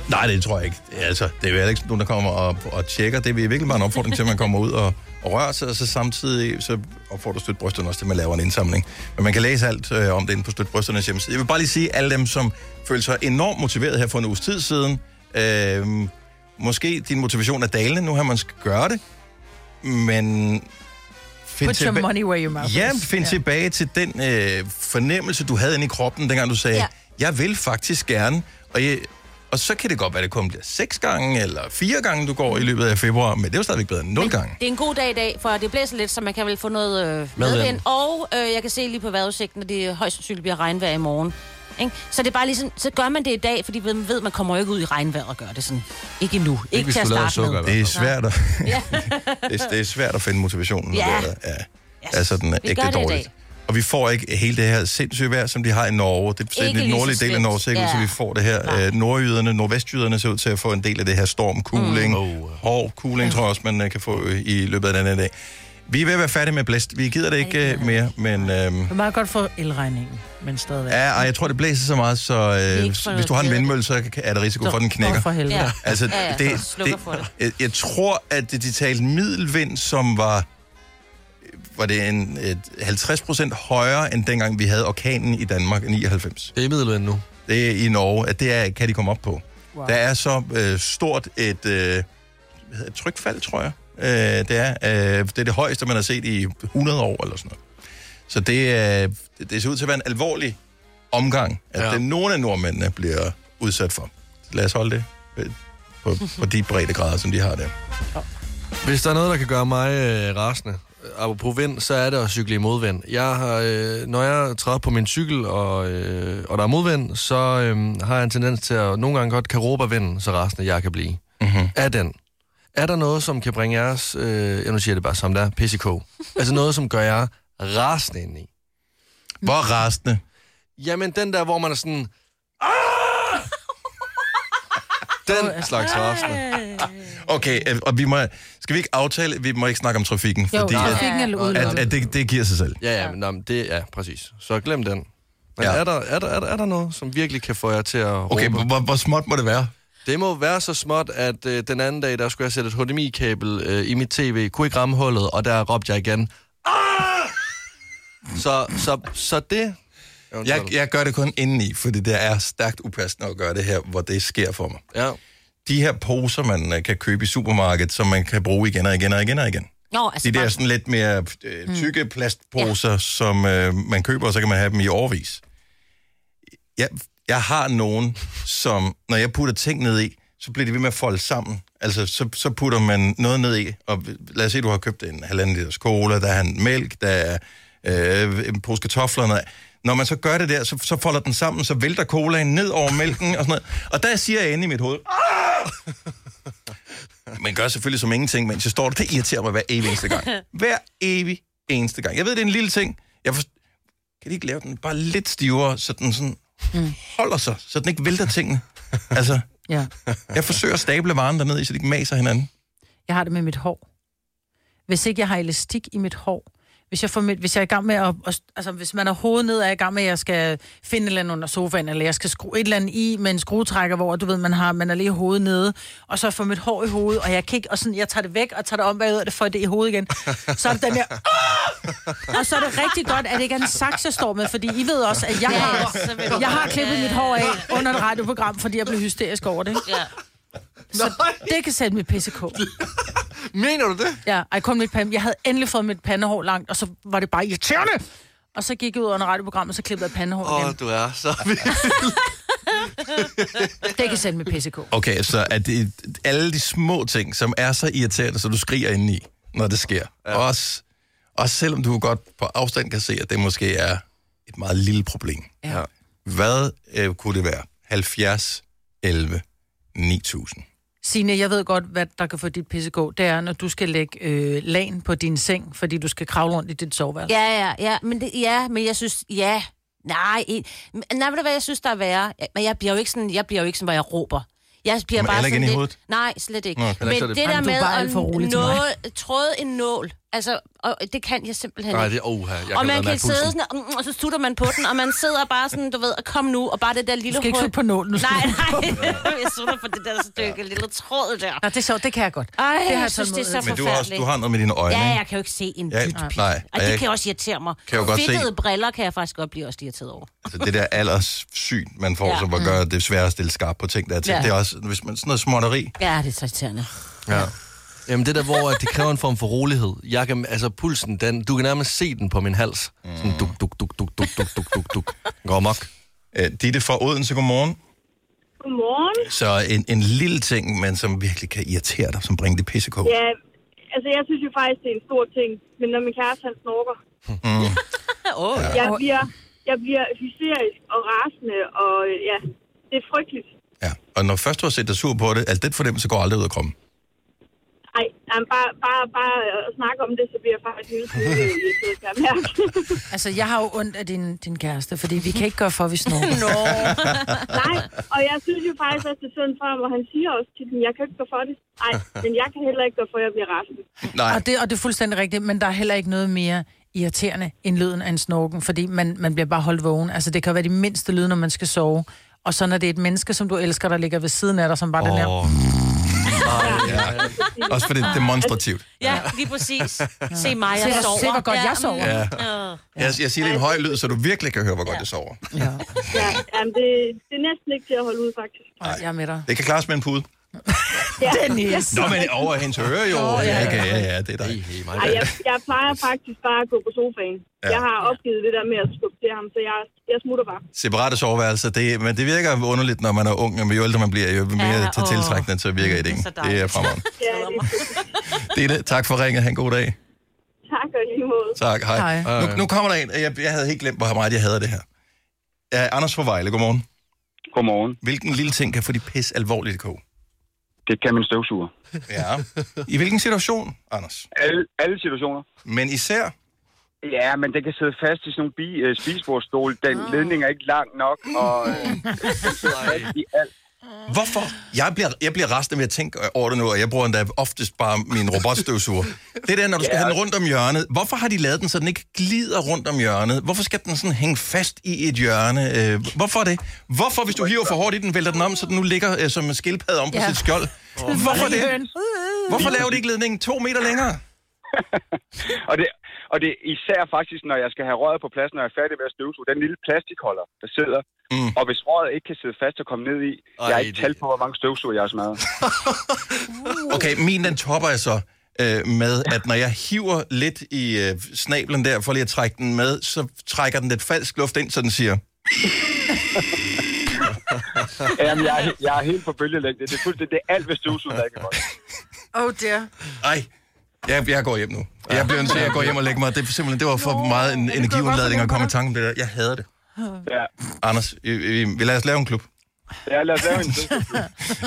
Nej, det tror jeg ikke. Altså, det er jo heller ikke nogen, der kommer og, og tjekker. Det er virkelig bare en opfordring til, at man kommer ud og, og rører sig, og så samtidig så opfordrer Støt Brysterne også til, at man laver en indsamling. Men man kan læse alt øh, om det inde på Støt Brysternes hjemmeside. Jeg vil bare lige sige, alle dem, som følte sig enormt motiveret her for en uges tid siden, øh, måske din motivation er dalende, nu har man skal gøre det, men find
Put your
tilba-
money where your mouth is.
Ja, find ja. tilbage til den øh, fornemmelse, du havde inde i kroppen, dengang du sagde, ja. jeg vil faktisk gerne, og, jeg, og så kan det godt være, det kun bliver seks gange eller fire gange, du går i løbet af februar, men det er jo stadigvæk bedre end nul gange.
Det er en god dag i dag, for det blæser lidt, så man kan vel få noget øh,
Medvind.
medvind. Og øh, jeg kan se lige på vejrudsigten, at det højst sandsynligt bliver regnvejr i morgen. Ikke? Så det er bare ligesom, så gør man det i dag, fordi man ved, man kommer jo ikke ud i regnvejr og gør det sådan. Ikke endnu. Ikke, ikke til at starte med.
Det er svært at, det, er- det er svært at finde motivationen.
Ja.
når det er- Ja. Altså, den er
Vi
ægte
gør det i dag.
dårligt. Og vi får ikke hele det her sindssyge vejr, som de har i Norge. Det er
Ikke
den
lige så
nordlige del af
slemt.
Norge, ser ikke ud til,
Ja.
vi får det her. Øh, nordjyderne, nordvestjyderne ser ud til at få en del af det her stormkugling.
Oh,
Mm. Hård kugling, tror jeg også, man øh, kan få øh, i løbet af den her dag. Vi er ved at være færdige med blæst. Vi gider det ikke øh, mere, men... øhm,
Det er meget godt for elregningen, men stadigvæk.
Ja, og jeg tror, det blæser så meget, så øh,
ikke for
hvis du har en
kedeligt.
vindmølle, så er der risiko
Så-
for, at den knækker.
Åh, for helvede. Ja.
Altså,
Ja, ja,
det,
så slukker for det.
Jeg, jeg tror, at det, de talte middelvind, som var var det en, et 50 procent højere, end dengang vi havde orkanen i Danmark i 99.
Det er middelvind nu.
Det er i Norge, at det er, kan de komme op på. Wow. Der er så øh, stort et, øh, hvad hedder det, trykfald, tror jeg. Øh, det, er, øh, det er det højeste, man har set i 100 år eller sådan noget. Så det, øh, det- det ser ud til at være en alvorlig omgang, at ja. det nogle af nordmændene bliver udsat for. Lad os holde det øh, på, på de brede grader, som de har der.
Hvis der er noget, der kan gøre mig øh, rasende, øh, apropos vind, så er det at cykle i modvind. Jeg har, øh, når jeg træder på min cykel, og, øh, og der er modvind, så øh, har jeg en tendens til at nogle gange godt kan råbe af vinden, så rasende jeg kan blive.
Mm-hmm.
Er den. Er der noget, som kan bringe jeres, øh, jeg nu siger jeg det bare som der, PCK? altså noget, som gør jer rasende inde i.
Hvor rasende?
Jamen, den der, hvor man er sådan... "Ah!" den slags rasende.
Okay, øh, og vi må, skal vi ikke aftale, vi må ikke snakke om trafikken,
Jo,
fordi
trafikken er
at,
udelukket.
at, at det, det giver sig selv.
Ja, ja, men, nå, men det er præcis. Så glem den. Men ja. er, der, er, der, er, der, er der noget, som virkelig kan få jer til at råbe?
Okay, hvor, hvor småt må det være?
Det må være så småt, at øh, den anden dag, der skulle jeg sætte et HDMI-kabel øh, i mit tv, kunne ikke ramme hullet, og der råbte jeg igen. "Ah!" Så, så, så det...
Jeg, jeg gør det kun indeni, fordi det er stærkt upassende at gøre det her, hvor det sker for mig.
Ja.
De her poser, man øh, kan købe i supermarkedet, som man kan bruge igen og igen og igen og igen.
Nå,
Altså, de der
bare-
sådan lidt mere øh, tykke plastposer, ja. som øh, man køber, og så kan man have dem i årvis. Jeg, jeg har nogen, som når jeg putter ting ned i, så bliver de ved med at folde sammen. Altså, så, så putter man noget ned i, og lad os se, du har købt en halvanden liters cola, der er en mælk, der er øh, en pose kartofler, og noget. Når man så gør det der, så, så folder den sammen, så vælter colaen ned over mælken og sådan noget. Og der siger jeg inde i mit hoved, man gør selvfølgelig som ingenting, mens jeg står der. Det irriterer mig hver evig eneste gang. Hver evig eneste gang. Jeg ved, det er en lille ting. Jeg forst... Kan de ikke lave den bare lidt stivere, så den sådan
Mm.
holder sig, så den ikke vælter tingene? Altså,
Ja.
jeg forsøger at stable varen dernede, i, så de ikke maser hinanden.
Jeg har det med mit hår. Hvis ikke jeg har elastik i mit hår, hvis jeg, får mit, hvis jeg er i gang med at, at- altså hvis man er hovedet ned, er jeg i gang med, at jeg skal finde et eller andet under sofaen, eller jeg skal skrue et eller andet i med en skruetrækker, hvor du ved, man har, man er lige hovedet nede, og så får mit hår i hovedet, og jeg kan ikke, og sådan, jeg tager det væk, og tager det om bagud, og det får det i hovedet igen. Så er det den her, "Åh!" og så er det rigtig godt, at det ikke er en saks, jeg står med, fordi I ved også, at jeg har,
Ja, så vil du
jeg har
godt.
klippet mit hår af under et radioprogram, fordi jeg blev hysterisk over det.
Ja.
Så det kan sætte mit PCK.
Mener du det?
Ja, ej, kun mit pande. Jeg havde endelig fået mit pandehår langt, og så var det bare irriterende. Og så gik jeg ud under radioprogrammet, og så klippede jeg pandehår
Åh,
igen.
oh, du er så vild.
Det kan sætte mit PCK.
Okay, så er det alle de små ting, som er så irriterende, så du skriger indeni, når det sker. Ja. Også, også selvom du godt på afstand kan se, at det måske er et meget lille problem.
Ja.
Hvad øh, kunne det være? 70, 11, 9000.
Signe, jeg ved godt, hvad der kan få dit PCK. Det er, når du skal lægge øh, lagen på din seng, fordi du skal kravle rundt i dit
Altså.
soveværelse.
Ja, ja, ja, men, det, ja, men jeg synes, ja, nej, en, men- nej, ved du hvad, jeg synes, der er værre, Ja, men jeg bliver jo ikke sådan, jeg bliver jo ikke sådan, hvor jeg råber. Jeg bliver
Men
bare
heller
sådan
ikke inde i
lidt,
hovedet?
nej, slet ikke.
Nå,
Nå,
heller
men
ikke så er
det
det-
der
Jamen, du er
med
bare alt for rolig
at
til mig.
nåle, tråde en nål, altså, og det kan jeg simpelthen
Nej,
ikke.
det er oha. Jeg
og man
lade
kan
mærke
sidde
pulsen.
sådan, mm, og så sutter man på den, og man sidder bare sådan, du ved, og kom nu, og bare det der lille
Du skal ikke
hul.
sutte på nålen, du skal
Nej,
sutte
nej, jeg sutter på det der stykke lille tråd der.
Nå, det er sjovt, det kan jeg godt.
Ej,
det
jeg synes, det er så
Men du har, også,
forfærdeligt.
du har noget med dine øjne,
Ja,
ikke?
jeg kan jo ikke se en
Ja,
ja, dyt pik.
nej, og
og
jeg
det kan også irritere mig.
kan jo godt se-
Fedtede briller kan jeg faktisk godt blive også irriteret over.
Altså, det der alderssyn, man får,
Ja. Mm.
ja. som bare gør det svært at stille skarp på ting, der er til.
Ja.
Ja. Det er også, hvis man sådan noget småtteri.
Ja, det er så irriterende.
Ja. Jamen det der, hvor at det kræver en form for rolighed. Jeg kan, altså pulsen, den, du kan nærmest se den på min hals. Sådan duk, duk, duk, duk, duk, duk, duk, duk, duk. Går mok.
Øh, Ditte fra Odense, godmorgen.
Godmorgen.
Så en, en lille ting, men som virkelig kan irritere dig, som bringer det pissekog.
Ja, altså jeg synes jo faktisk, det er en stor ting, men når min kæreste han snorker,
Mm.
oh,
jeg, bliver, jeg bliver hysterisk og rasende, og øh, ja, det er frygteligt.
Og når først du har set dig sur på det, altså den fornemmelse går aldrig ud af kroppen.
Ej, jamen, bare, bare, bare at snakke om det, så bliver jeg faktisk hele tiden øh, irriteret, kan jeg mærke.
Altså, jeg har jo ondt af din, din kæreste, fordi vi kan ikke gøre for, at vi snor.
Nej, og jeg synes jo faktisk også, det er synd for ham, og han siger også til dem, jeg kan jo ikke gå for det. Nej, men jeg kan heller ikke gå for, at jeg bliver rasende.
Nej.
Og det, og det er fuldstændig rigtigt, men der er heller ikke noget mere irriterende end lyden af en snorken, fordi man, man bliver bare holdt vågen. Altså, det kan være de mindste lyde, når man skal sove. Og så når det er et menneske, som du elsker, der ligger ved siden af dig, som bare oh. den her...
Også fordi det er demonstrativt.
Ja, lige præcis. Se mig, jeg
Se, hvor-
sover.
se, hvor godt jeg
mm,
sover.
Ja.
øh.
Jeg, jeg siger det i en høj lyd, så du virkelig kan høre, hvor godt det sover.
Ja, jamen, det, det er næsten ikke til at holde ud, faktisk.
Nej, jeg er med dig.
Det kan klares med en pude.
Ja.
Nå, men over hendes øre jo.
Åh, ja.
ja, ja, ja, ja, det er dig.
Ej, jeg, jeg plejer faktisk bare at gå på sofaen. Ja. Jeg har opgivet det der med at skubbe til ham, så jeg, jeg smutter bare.
Separate soveværelser, det, men det virker underligt, når man er ung, men jo ældre man bliver, jo mere
Ja,
ja, til
åh.
tiltrækkende, så virker det ikke.
så
Det er
dejligt.
fremragende.
Ja, det er
Ditte, tak for ringet. Han god dag.
tak og i lige måde.
Tak, hej.
Hej.
Nu, nu kommer der en, og jeg, jeg havde helt glemt, hvor meget jeg havde det her. Ja, Anders fra Vejle, godmorgen.
Godmorgen.
Hvilken lille ting kan få de pis alvorligt i kog?
Det kan min støvsuger.
Ja. I hvilken situation, Anders?
Alle, alle situationer.
Men især?
Ja, men den kan sidde fast i sådan nogle bi- øh, spisbordstole. Den oh. ledning er ikke lang nok, og øh, den sidder fast i alt.
Hvorfor? Jeg bliver, jeg bliver rasende ved at tænke over det nu, og jeg bruger endda oftest bare min robotstøvsuger. Det der, når du skal
Ja.
ja. have den rundt om hjørnet. Hvorfor har de lavet den, så den ikke glider rundt om hjørnet? Hvorfor skal den sådan hænge fast i et hjørne? Øh, hvorfor det? Hvorfor, hvis du hiver for hårdt i den, vælter den om, så den nu ligger øh, som en skildpadde om på
Ja.
sit skjold? Hvorfor det? Hvorfor laver de ikke ledningen to meter længere?
Og det, og det er især faktisk, når jeg skal have røret på plads, når jeg er færdig med at støvsuge, den lille plastikholder, der sidder. Mm. Og hvis røret ikke kan sidde fast og komme ned i, Ej, jeg har ikke talt på, hvor mange støvsuger jeg har smadret.
Okay, min den topper jeg så øh, med, at når jeg hiver lidt i øh, snablen der, for lige at trække den med, så trækker den lidt falsk luft ind, så den siger...
Jamen, jeg, er, he- jeg er helt på bølgelængde. Det er fuldstændig det er alt ved støvsuger, der ikke er godt.
Oh dear.
Ej, jeg, jeg går hjem nu. Jeg bliver nødt til at gå hjem og lægge mig. Det, er simpelthen, det var for meget en energiudladning at komme i tanke om det der. Jeg hader det.
Ja.
Anders, vi, vi, vi lader os lave en klub.
Ja, lad os lave en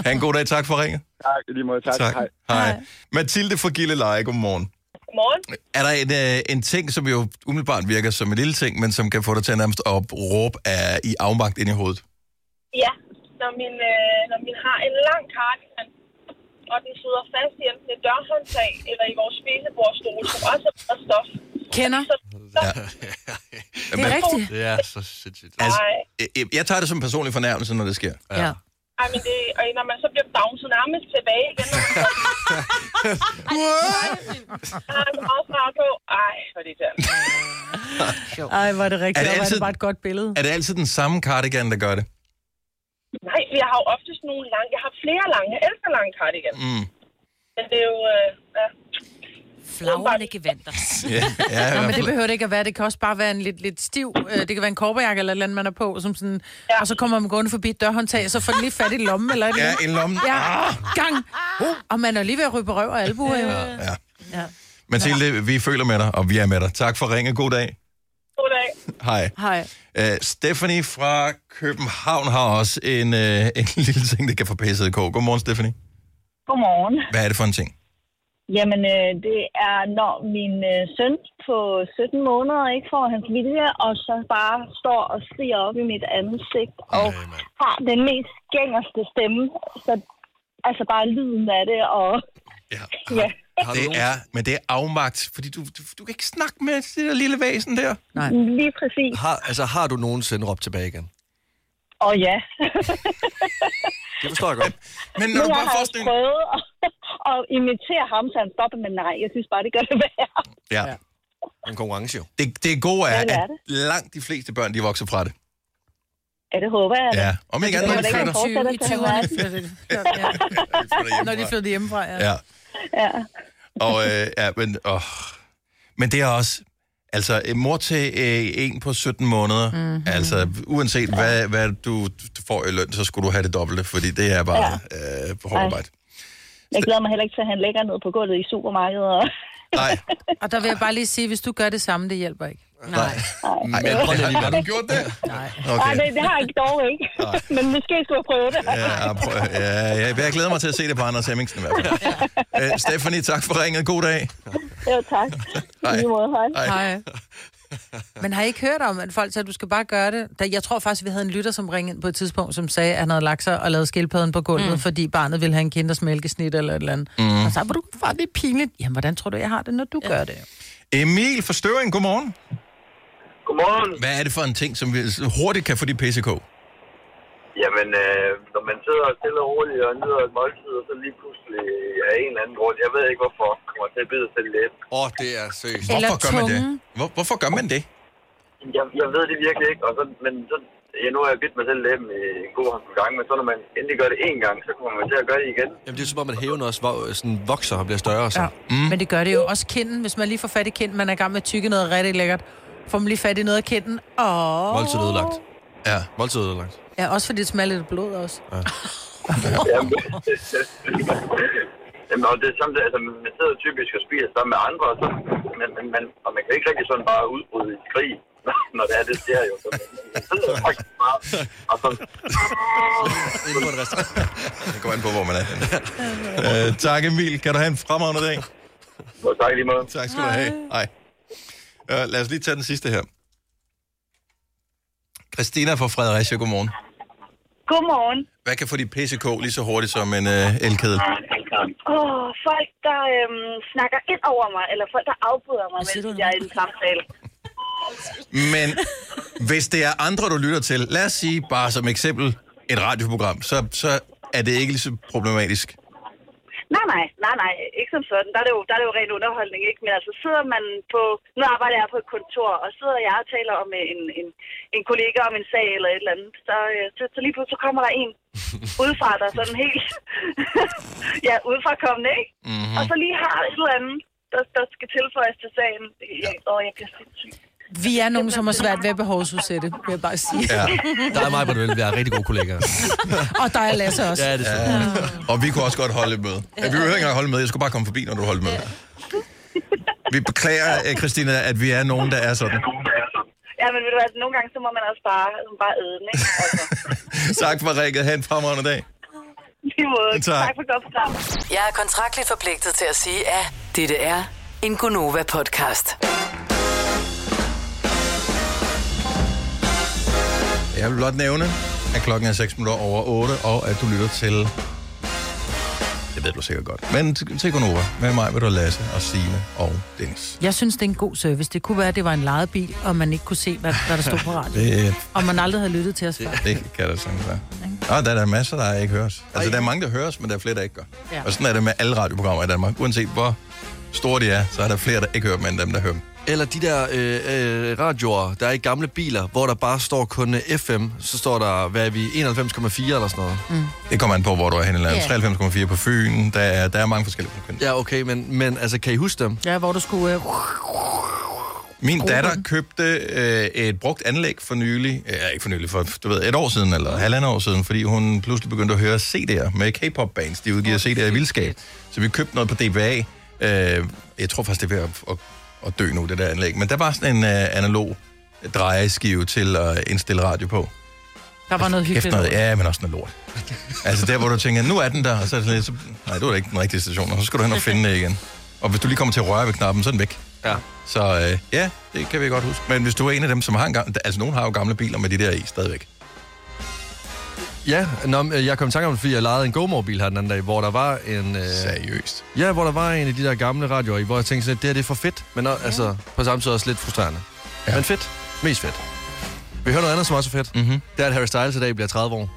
Ha' en god dag. Tak for ringet.
Tak, i lige måde. Tak. Hej.
Hej. Hej. Mathilde fra Gilleleje, godmorgen.
Godmorgen.
Er der en, øh, en ting, som jo umiddelbart virker som en lille ting, men som kan få dig til at nærmest at råbe af, i afmagt ind i hovedet?
Ja, når min, øh, når min har en lang cardigan, og den sidder fast i enten et dørhåndtag eller i vores spisebordstol, som også er af stof.
Kender.
Ja.
Det er rigtigt.
Det er så sindssygt.
Altså, jeg, jeg tager det som en personlig fornærmelse, når det sker.
Ja.
Ej, men det, og når man så bliver bounced nærmest tilbage igen, når man så- Ej, jeg har så meget far på. Ej, hvor er det der.
Ej, hvor er det rigtigt.
Er det
Er det, altid...
altid-
det bare et godt billede.
Er det altid den samme cardigan, der gør det?
Nej, jeg har jo oftest nogle lange. Jeg har flere lange. Jeg elsker lange cardigan.
Mm.
Men det er jo... Øh, ja.
Flagrende gevanter.
Ja, ja, i
Nå,
hvert
men det
fald.
behøver det ikke at være. Det kan også bare være en lidt, lidt stiv... Øh, det kan være en korperjakke eller et eller andet, man er på, som sådan... Ja. Og så kommer man gående forbi et dørhåndtag, og så får den lige fat i lommen eller et
Ja,
eller andet.
i lommen.
Ja,
Ah!
gang. Og man er lige ved at rybe røv og albuer, jo.
Ja.
Ja.
Mathilde, vi føler med dig, og vi er med dig. Tak for ringe. God dag.
Goddag.
Hej.
Hej.
Uh, Stephanie fra København har også en, uh, en lille ting, der kan få pisset i kog. Godmorgen, Stephanie.
Godmorgen.
Hvad er det for en ting?
Jamen, øh, det er, når min øh, søn på 17 måneder ikke får hans vilje, og så bare står og skriger op i mit ansigt, og har den mest gængerste stemme. Så, altså bare lyden af det, og... Ja. ja.
Det er, men det er afmagt, fordi du, du, du kan ikke snakke med det der lille væsen der.
Nej.
Lige præcis.
Har, altså, har du nogensinde råbt tilbage igen?
Og ja.
Det forstår jeg godt.
Men
Men jeg har også prøvet at, at imitere ham, så han stopper, men nej, jeg synes bare, det gør det værre.
Ja. ja. En konkurrence jo. Det, det gode er,
Ja,
ja,
det
det
er
er at langt de fleste børn, de vokser fra det.
Ja, det håber jeg. da.
Ja. Om ikke
Men
andet,
det
når de
kan
flytter.
fortsætte
I
at tage
20'erne
verden.
flytter Når de flytter hjemmefra, ja.
Ja.
Ja.
Og øh, ja, men, åh. men det er også... Altså, en mor til øh, en på 17 måneder,
Mhm.
mm-hmm. altså uanset hvad, hvad du, du får i løn, så skulle du have det dobbelte, fordi det er bare ja. øh, hårdt
Ej.
arbejde.
Jeg glæder mig heller ikke til, at han lægger ned på gulvet i supermarkedet. Og...
Nej.
Og der vil jeg bare lige sige, hvis du gør det samme, det hjælper ikke.
Nej.
Men
Men
prøv lige-
har, har du gjort det? Nej.
Okay. Ej,
Okay.
det, det har jeg ikke dog ikke. Men måske skulle jeg prøve det.
Ja, prøv, ja, ja, jeg glæder mig til at se det på Anders Hemmingsen i hvert fald. Ja. Øh, Stephanie, tak for ringet. God dag.
Jo, tak.
Hej.
I lige måde, hej.
Hej.
Hej. Men har I ikke hørt om, at folk sagde, at du skal bare gøre det? Da, jeg tror faktisk, vi havde en lytter, som ringede ind på et tidspunkt, som sagde, at han havde lagt sig og lavet skildpadden på gulvet,
Mm.
mm. fordi barnet ville have en kinders mælkesnit eller et eller andet.
Mm.
Mm. Og så sagde, hvor du far, det er pinligt. Jamen, hvordan tror du, jeg har det, når du ja. gør det?
Emil fra Støvring, godmorgen.
Godmorgen.
Hvad er det for en ting, som vi hurtigt kan få de PCK?
Jamen, øh, når man sidder stille og roligt og nyder et måltid, og så lige pludselig af en eller anden grund, jeg ved ikke hvorfor, kommer til at bide sig lidt.
Åh, oh, det er seriøst.
Hvorfor gør man det? Hvor, hvorfor gør man det?
Jeg, jeg ved det virkelig ikke, og så, men så, ja, nu har jeg bidt mig selv læben i en god hånd gang, men så når man endelig gør det én gang, så kommer man til at gøre det igen.
Jamen, det er som om, at hæven også vo- sådan vokser og bliver større. Så.
Ja. Mm. Men det gør det jo også kinden. Hvis man lige får fat i kinden, man er i gang med at tykke noget rigtig lækkert, får man lige fat i noget af kinden. Åh.
Måltid ødelagt.
Ja.
Måltid ødelagt.
Ja, også fordi det smager lidt af blod også. Ja.
Jamen, Jamen, og det er samme, altså, man sidder typisk og spiser sammen med andre, og, så, men, men, men, og man kan ikke rigtig sådan bare udbryde i et skrig, når det er, det sker jo. Så, man sidder faktisk bare, og så...
Inden på en restaurant.
Det går an på, hvor man er. øh, tak Emil. Kan du have en fremragende dag?
Tak lige måde.
Tak skal du have. Hej. Uh, lad os lige tage den sidste her. Christina fra Fredericia, godmorgen.
Godmorgen.
Hvad kan få dit PCK lige så hurtigt som en øh, elkedel?
Åh, folk, der øhm, snakker ind over mig, eller folk, der afbryder mig, mens jeg er i en samtale.
Men hvis det er andre, du lytter til, lad os sige bare som eksempel et radioprogram, så, så er det ikke lige så problematisk.
Nej, nej, nej, nej, ikke som sådan. Der er, det jo, der er det jo ren underholdning, ikke? Men altså sidder man på, nu arbejder jeg på et kontor, og sidder jeg og taler om øh, en, en, en kollega om en sag eller et eller andet, så, øh, så, så lige pludselig så kommer der en udefra, der er sådan helt, ja, udefrakommende, ikke? Mm-hmm. Og så lige har et eller andet, der, der skal tilføjes til sagen. Ja. Og jeg bliver sindssyg.
Vi er nogen, som har svært ved at behovsudsætte, vil jeg bare sige.
Ja. Der er mig, hvor vi er rigtig gode kollegaer.
Og der er Lasse også.
Ja, det er
Ja. Og vi kunne også godt holde et møde. Ja, vi behøver ikke engang holde møde, jeg skulle bare komme forbi, når du holdt møde. Vi beklager, øh, Christina, at vi er nogen, der er sådan.
Ja, men ved du hvad, nogle gange så må man også bare, altså, bare æde den, ikke? Altså,
Tak for rækket. Ha' en fremragende dag.
lige måde.
Tak.
tak for godt program.
Jeg er kontraktligt forpligtet til at sige, at dette er en Gunova-podcast.
Jeg vil blot nævne, at klokken er 6 minutter over 8, og at du lytter til... Det ved du sikkert godt. Men til til Gunova, med mig vil du Lasse og Signe og Dennis.
Jeg synes, det er en god service. Det kunne være, at det var en lejebil, og man ikke kunne se, hvad, hvad der stod på radioen.
Det,
Og man aldrig havde lyttet til os før.
det kan der sådan være. Nå, der er der masser, der ikke høres. Altså, der er mange, der høres, men der er flere, der ikke gør.
Ja.
Og sådan er det med alle radioprogrammer i Danmark. Uanset hvor store de er, så er der flere, der ikke hører dem, end dem, der hører dem.
Eller de der øh, øh, radioer, der er i gamle biler, hvor der bare står kun øh, FM, så står der, hvad er vi, 91,4 eller sådan noget.
Mm. Det kommer an på, hvor du er henne. Eller
Ja.
93,4 på Fyn. Der er, der er mange forskellige punkter.
Ja, okay, men, men altså, kan I huske dem?
Ja, hvor du skulle... Øh,
Min
Gruppen.
datter købte øh, et brugt anlæg for nylig, øh, ikke for nylig, for du ved, et år siden eller halvandet år siden, fordi hun pludselig begyndte at høre CD'er med K-pop-bands. De udgiver CD'er i vildskab. Så vi købte noget på DBA. Øh, jeg tror faktisk, det er ved at, at, at dø nu, det der anlæg. Men der var sådan en øh, analog drejeskive til at indstille radio på.
der var noget
Kæft
hyggeligt.
noget, ja, men også noget lort. altså der, hvor du tænker, nu er den der, og så er det sådan lidt, så, nej, det var da ikke den rigtige station, og så skal du hen og finde det igen. Og hvis du lige kommer til at røre ved knappen, så er den væk.
Ja.
Så øh, ja, det kan vi godt huske. Men hvis du er en af dem, som har en gammel... Altså, nogen har jo gamle biler med de der i stadigvæk.
Ja, nå, men, øh, jeg kom i tanke om det, fordi jeg lejede en GoMore-bil her den anden dag, hvor der var en... Øh,
Seriøst?
Ja, hvor der var en af de der gamle radioer, i, hvor jeg tænkte sådan, at det her det er for fedt, men ja. altså på samme tid også lidt frustrerende. Ja. Men fedt. Mest fedt. Vi hører noget andet, som også er fedt. Mm-hmm. Det er, at Harry Styles i dag bliver 30 år.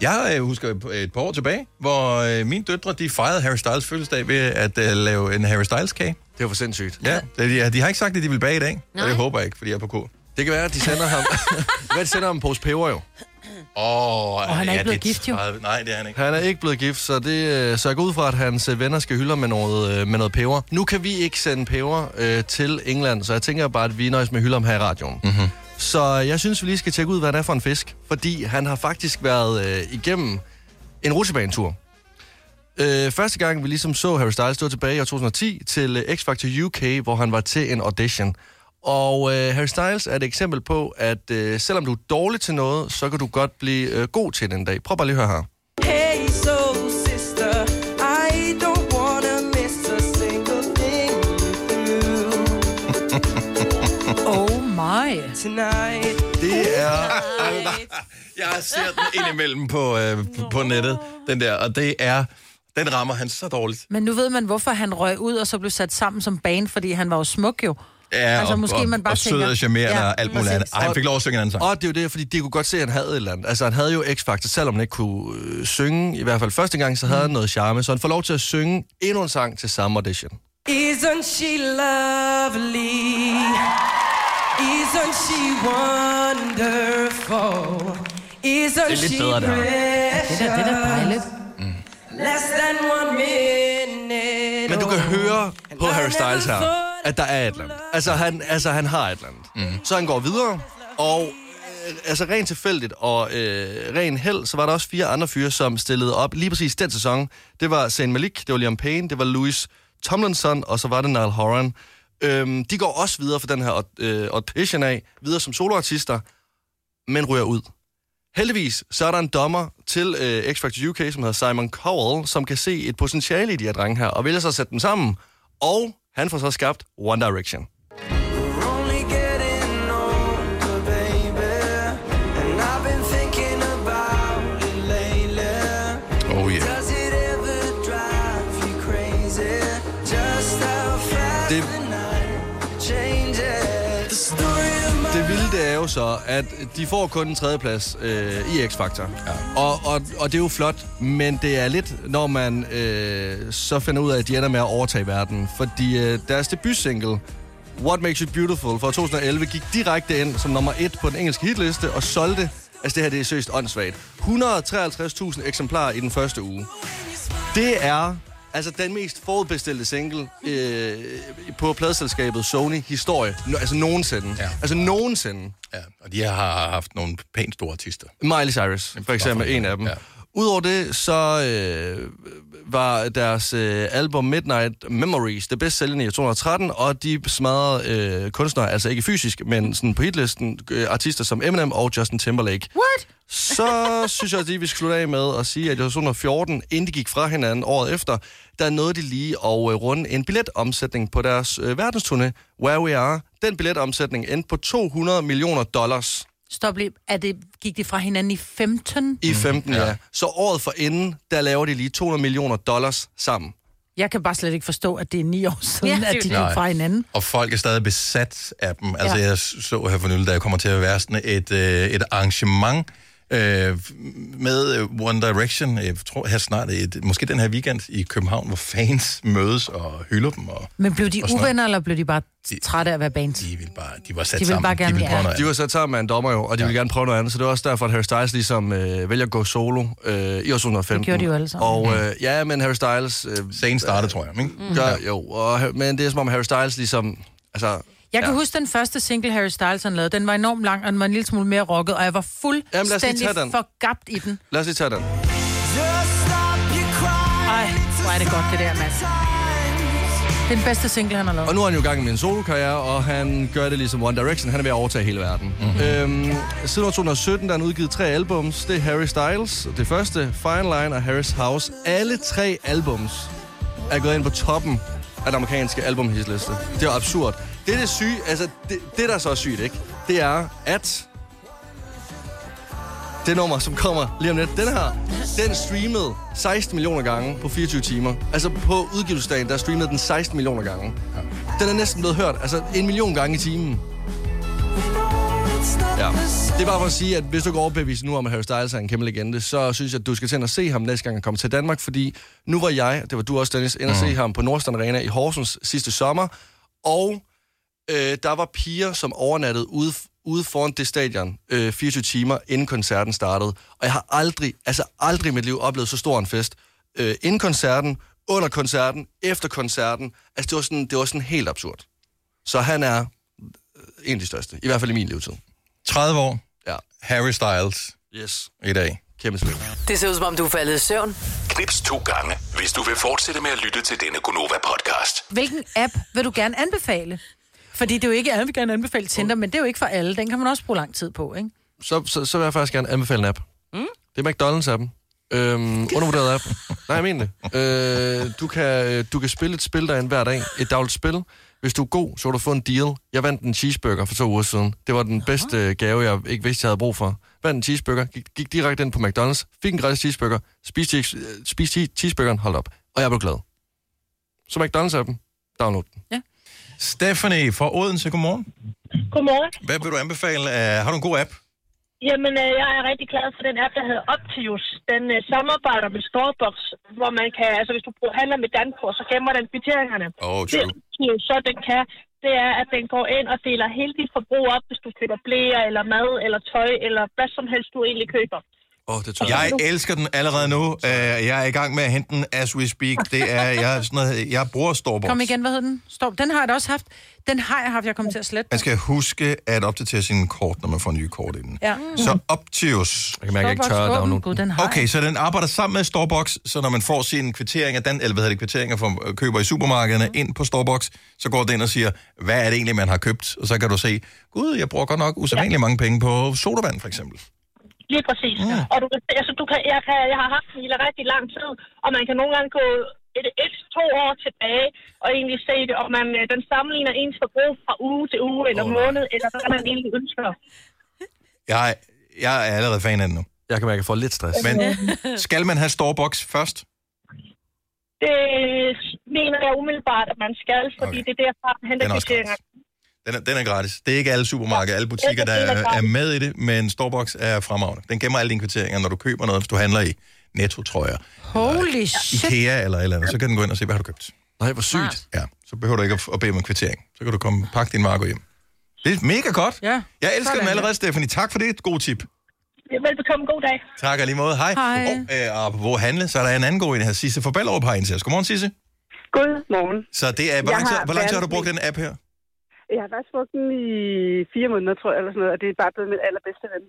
Jeg øh, husker et- et par år tilbage, hvor øh, mine døtre, de fejrede Harry Styles fødselsdag ved at øh, lave en Harry Styles-kage.
Det var for sindssygt.
Ja, det, ja, de har ikke sagt, at de vil bage i dag,
Nej.
og det håber jeg ikke, fordi jeg er på kur.
Det kan være, at de sender ham, det kan være, de sender ham en pose peber jo.
Åh, oh,
Og han er ikke blevet gift, jo.
Nej, det er han ikke.
Han er ikke blevet gift, så, det, øh, så jeg går ud fra, at hans øh, venner skal hylde ham med noget, øh, med noget peber. Nu kan vi ikke sende peber øh, til England, så jeg tænker bare, at vi nøjes med at hylde ham her i radioen. Mm-hmm. Så jeg synes, vi lige skal tjekke ud, hvad det er for en fisk. Fordi han har faktisk været øh, igennem en rutsjebanetur. Øh, første gang, vi ligesom så Harry Styles stå tilbage i år 2010 til øh, X Factor UK, hvor han var til en audition. Og øh, Harry Styles er et eksempel på, at øh, selvom du er dårlig til noget, så kan du godt blive øh, god til det en dag. Prøv bare lige at høre her.
Hey, soul sister, I don't wanna miss a single thing with you.
oh my.
Tonight.
Det er...
Jeg ser den indimellem på, øh, på- på nettet, den der, og det er... Den rammer han så dårligt.
Men nu ved man, hvorfor han røg ud og så blev sat sammen som band, fordi han var jo smuk jo.
Ja,
altså,
og,
måske
og,
man bare
og sød
tænker-
og charmerende
Ja,
og alt muligt
præcis.
andet. Ej, han fik lov at synge en anden sang.
Og det er jo det, fordi de kunne godt se, at han havde et eller andet. Altså, han havde jo X-Factor, selvom han ikke kunne øh, synge, i hvert fald første gang, så havde han noget charme. Så han får lov til at synge endnu en sang til samme audition.
Isn't she lovely? Isn't she wonderful? Isn't
Det er lidt
she
bedre, det her.
precious?
Det er da- det er da dejligt.
Less than one minute.
Men du kan høre på Harry Styles her, at der er et eller andet. Altså, han, altså, han har et eller andet. Mm. Så han går videre, og øh, altså rent tilfældigt og øh, ren held, så var der også fire andre fyre, som stillede op lige præcis den sæson. Det var Zayn Malik, det var Liam Payne, det var Louis Tomlinson, og så var det Niall Horan. Øhm, de går også videre for den her aut- øh, audition af, videre som soloartister, men ryger ud. Heldigvis, så er der en dommer til øh, X-Factor UK, som hedder Simon Cowell, som kan se et potentiale i de her drenge her, og vælger så at sætte dem sammen. Og han får så skabt One Direction.
Only
Oh,
jo så, at de får kun en tredjeplads øh, i X-Factor. Ja. Og, og, og det er jo flot, men det er lidt, når man øh, så finder ud af, at de ender med at overtage verden. Fordi øh, deres debutsingle, What Makes You Beautiful fra 2011, gik direkte ind som nummer et på den engelske hitliste og solgte, altså det her det er seriøst åndssvagt, 153.000 eksemplarer i den første uge. Det er altså den mest forudbestilte single øh, på pladeselskabet Sony historie. No, altså nogensinde. Ja. Altså nogensinde.
Ja, og de har haft nogle pænt store artister.
Miley Cyrus, for eksempel, en af dem. Ja. Udover det, så øh, var deres øh, album Midnight Memories det bedst sælgende i 2013, og de smadrede øh, kunstnere, altså ikke fysisk, men sådan på hitlisten, øh, artister som Eminem og Justin Timberlake.
What?
Så synes jeg, at de, vi skal slutte af med at sige, at i 2014, inden de gik fra hinanden året efter, der nåede de lige at øh, runde en billetomsætning på deres øh, verdensturné, Where We Are. Den billetomsætning endte på 200 millioner dollars.
Stop lige. Er det, gik de fra hinanden i 15?
I 15, Mhm. ja. ja. Så året for inden, der laver de lige 200 millioner dollars sammen.
Jeg kan bare slet ikke forstå, at det er ni år siden,
Ja,
ja,
det er
at
jo
de
det.
gik fra hinanden.
Og folk er stadig besat af dem. Altså,
Ja.
ja. jeg så her for nylig, da jeg kommer til at være sådan et, øh, et arrangement øh, med øh, One Direction, jeg tror her snart, et, måske den her weekend i København, hvor fans mødes og hylder dem. Og
Men blev de
Og sådan noget.
uvenner, eller blev de bare trætte af at være bands? De
ville bare, de var sat
de ville
sammen.
Bare gerne,
ville prøve
ja.
noget
De var sat sammen med en dommer jo, og de ja. ville gerne prøve noget andet, så det var også derfor, at Harry Styles ligesom øh, vælger at gå solo øh, i år 2015.
Det gjorde de jo alle sammen.
Og øh, ja, men Harry Styles... Øh,
Scenen startede, tror jeg, ikke?
Mm.
Mhm.
Gør, jo, og, men det er som om Harry Styles ligesom... Altså,
Jeg kan
ja.
ja. huske den første single, Harry Styles han lavede. Den var enormt lang, og den var en lille smule mere rocket, og jeg var
Jamen, lad os lige
fuldstændig
tage den.
forgabt i den.
Lad os lige tage den.
Ej, hvor er det godt, det der, mand. Det er den bedste single, han har lavet.
Og nu er han jo i gang med en solokarriere, og han gør det ligesom One Direction. Han er ved at overtage hele verden. Mm-hmm. Øhm, siden år 2017 der er han udgivet tre albums. Det er Harry Styles, det første, Fine Line og Harry's House. Alle tre albums er gået ind på toppen af den amerikanske albumhitliste. Det er jo absurd. Det, det, syge, altså, det, det der så er sygt, ikke? det er, at det nummer, som kommer lige om lidt, den her, den streamede 16 millioner gange på 24 timer. Altså på udgivelsesdagen, der streamede den 16 millioner gange. Den er næsten blevet hørt, altså en million gange i timen. Ja. Det er bare for at sige, at hvis du går overbevist nu om, at Harry Styles er en kæmpe legende, så synes jeg, at du skal tænde og se ham næste gang, han kommer til Danmark, fordi nu var jeg, det var du også, Dennis, inde og se ham på Nordstrand Arena i Horsens sidste sommer, og øh, der var piger, som overnattede ude, ude foran det stadion øh, 24 timer, inden koncerten startede. Og jeg har aldrig, altså aldrig i mit liv oplevet så stor en fest. Øh, inden koncerten, under koncerten, efter koncerten. Altså det var sådan, det var sådan helt absurd. Så han er øh, en af de største, i hvert fald i min levetid.
30 år.
Ja.
Harry Styles.
Yes.
I dag.
Kæmpe spil.
Det ser ud som om, du er faldet i søvn.
Knips to gange, hvis du vil fortsætte med at lytte til denne Gonova-podcast.
Hvilken app vil du gerne anbefale? Fordi det er jo ikke, alle vil gerne anbefale Tinder, men det er jo ikke for alle. Den kan man også bruge lang tid på, ikke?
Så, så, så vil jeg faktisk gerne anbefale en app.
Mm?
Det er McDonald's-appen. Øhm, undervurderet app. Nej, jeg mener det. Øh, du, kan, øh, du kan spille et spil derinde hver dag. Et dagligt spil. Hvis du er god, så vil du få en deal. Jeg vandt en cheeseburger for to uger siden. Det var den bedste øh, gave, jeg ikke vidste, jeg havde brug for. Vandt en cheeseburger, gik, gik direkte ind på McDonald's, fik en gratis cheeseburger, spiste, cheese- øh, spiste che- cheeseburgeren, holdt op. Og jeg blev glad. Så McDonald's-appen, download den.
Stephanie fra Odense, godmorgen.
Godmorgen.
Hvad vil du anbefale? Uh, har du en god app?
Jamen, øh, jeg er rigtig glad for den app, der hedder Optius. Den øh, samarbejder med Starbucks, hvor man kan, altså hvis du bruger- handler med Dankort, så gemmer den kvitteringerne.
Oh,
det
true.
Optius så den kan, det er, at den går ind og deler hele dit forbrug op, hvis du køber blæer, eller mad, eller tøj, eller hvad som helst, du egentlig køber.
Åh, oh, det
tør
jeg
jeg.
elsker den allerede nu. Uh, jeg er i gang med at hente den as we speak. Det er, jeg, er sådan noget, jeg bruger Storborg.
Kom igen, hvad hed den? Stop. Den har jeg da også haft. Den har jeg haft, jeg kom til at slette.
Man skal huske at opdatere sine kort, når man får nye kort inden.
Ja.
Så Optius. Jeg
kan
mærke, jeg ikke tør at Starbucks, åbn. downloade den. Gud, den har jeg.
Okay, så den arbejder sammen med Starbucks, så når man får sine kvitteringer, den, eller hvad hedder det, kvitteringer fra øh, køber i supermarkederne mm. ind på Starbucks, så går den ind og siger, hvad er det egentlig, man har købt? Og så kan du se, gud, jeg bruger godt nok usædvanligt ja. mange penge på sodavand, for eksempel.
Lige præcis. Ja. Og du, kan, altså, du kan, jeg, kan, jeg har haft den i rigtig lang tid, og man kan nogle gange gå et, et, to år tilbage og egentlig se det, og man, øh, den sammenligner ens forbrug fra uge til uge, eller oh, måned, eller hvad man egentlig ønsker.
Jeg, jeg er allerede fan af den nu.
Jeg kan mærke, at jeg får lidt stress.
Men skal man have Starbucks først?
Det mener jeg umiddelbart, at man skal, fordi okay. det er derfra, man henter
Den er også
kvitteringer.
Den er, den er gratis. Det er ikke alle supermarkeder, alle butikker, der er, er med i det, men Storbox er fremragende. Den gemmer alle dine kvitteringer, når du køber noget, hvis du handler i Netto, tror jeg,
Holy shit.
IKEA eller et eller andet. Så kan den gå ind og se, hvad har du købt.
Nej, hvor sygt.
Ja, så behøver du ikke at- at bede om en kvittering. Så kan du komme pakke din marker hjem. Det er mega godt.
Ja,
jeg elsker
sådan
den
er
allerede, Stephanie. Tak for det. God tip.
Velbekomme, god dag.
Tak og lige måde. Hej.
Hej.
Og, øh, hvor handle, så er der en anden god en her. Sisse fra Ballerup har en til os. Godmorgen, Sisse.
Godmorgen.
Så det er, hvor
Jeg
lang tid,
har
hvor lang tid har du
verdens
brugt den app her?
Jeg har faktisk brugt den i fire måneder, tror jeg, eller sådan noget, og det er bare blevet min allerbedste ven.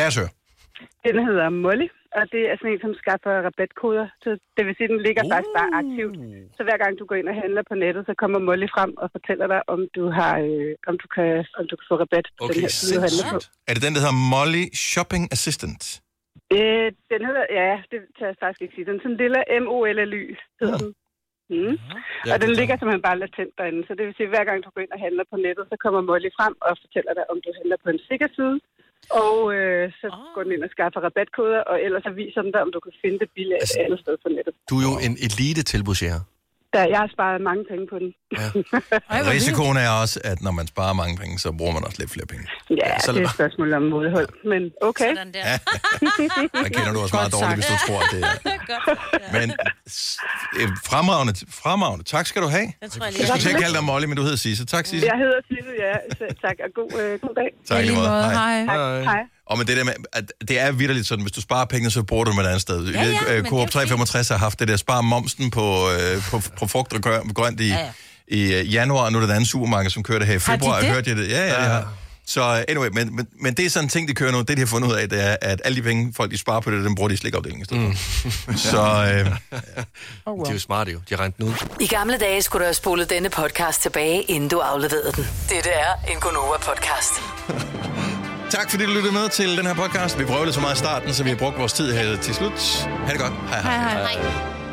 Lad os høre.
Den hedder Molly, og det er sådan en, som skaffer rabatkoder. Så det vil sige, at den ligger uh. faktisk bare aktivt. Så hver gang du går ind og handler på nettet, så kommer Molly frem og fortæller dig, om du, har, øh, om du, kan, om du kan få rabat på den
Okay,
her side, du handler på.
sindssygt. Er det den, der hedder Molly Shopping Assistant?
Øh, den hedder, ja, det tør jeg faktisk ikke sige. Den er sådan en lille M-O-L-L-Y, hedder den. Mm.
Ja,
og den
det er
ligger simpelthen bare latent derinde, så det vil sige, at hver gang du går ind og handler på nettet, så kommer Molly frem og fortæller dig, om du handler på en sikker side, og øh, så
Ah.
går den ind og skaffer rabatkoder, og ellers så viser den dig, om du kan finde det billigt altså... andet sted på nettet.
Du er jo en elite-tilbudsjæger.
Der, jeg har sparet mange penge på den.
Ja. Risikoen er også, at når man sparer mange penge, så bruger man også lidt flere penge.
ja,
så
det er et spørgsmål om modhold, men okay. Sådan
der.
Ja.
Der kender du også meget dårligt, hvis du tror, at det er. Men s- øh, fremragende, fremragende. Tak skal du have.
Jeg tror, jeg lige-
jeg skulle til at kalde dig Molly, men du hedder Sisse. Tak, Sisse.
Jeg hedder Sisse, ja. Så, tak, og god, øh, god dag.
Tak i lige måde.
Tak, hej.
Og med det der med, at det er vidderligt sådan, hvis du sparer penge, så bruger du dem et andet sted.
Ja,
Øh,
ja, men
Coop
det er jo
365 har haft det der, spar momsen på, øh, på, på frugt og grø- grønt i,
Ja,
ja,
ja.
ja. i øh, januar, og nu er der et andet supermarked, som kører det her i
Har de
februar.
det?
Hørte jeg det? Ja, ja, ja. Så anyway, men, men, men det er sådan en ting, de kører nu. Det, de har fundet ud af, det er, at alle de penge, folk de sparer på det, dem bruger de i slikafdelingen i stedet. Mm. Så øh,
oh,
wow. De er jo smarte jo. De har rent den ud.
I gamle dage skulle du have spolet denne podcast tilbage, inden du afleverede den. Dette er en Gonova-podcast.
tak fordi du lyttede med til den her podcast. Vi prøvede så meget i starten, så vi har brugt vores tid her til slut. Ha' det godt. Hej hej.
Hej, hej.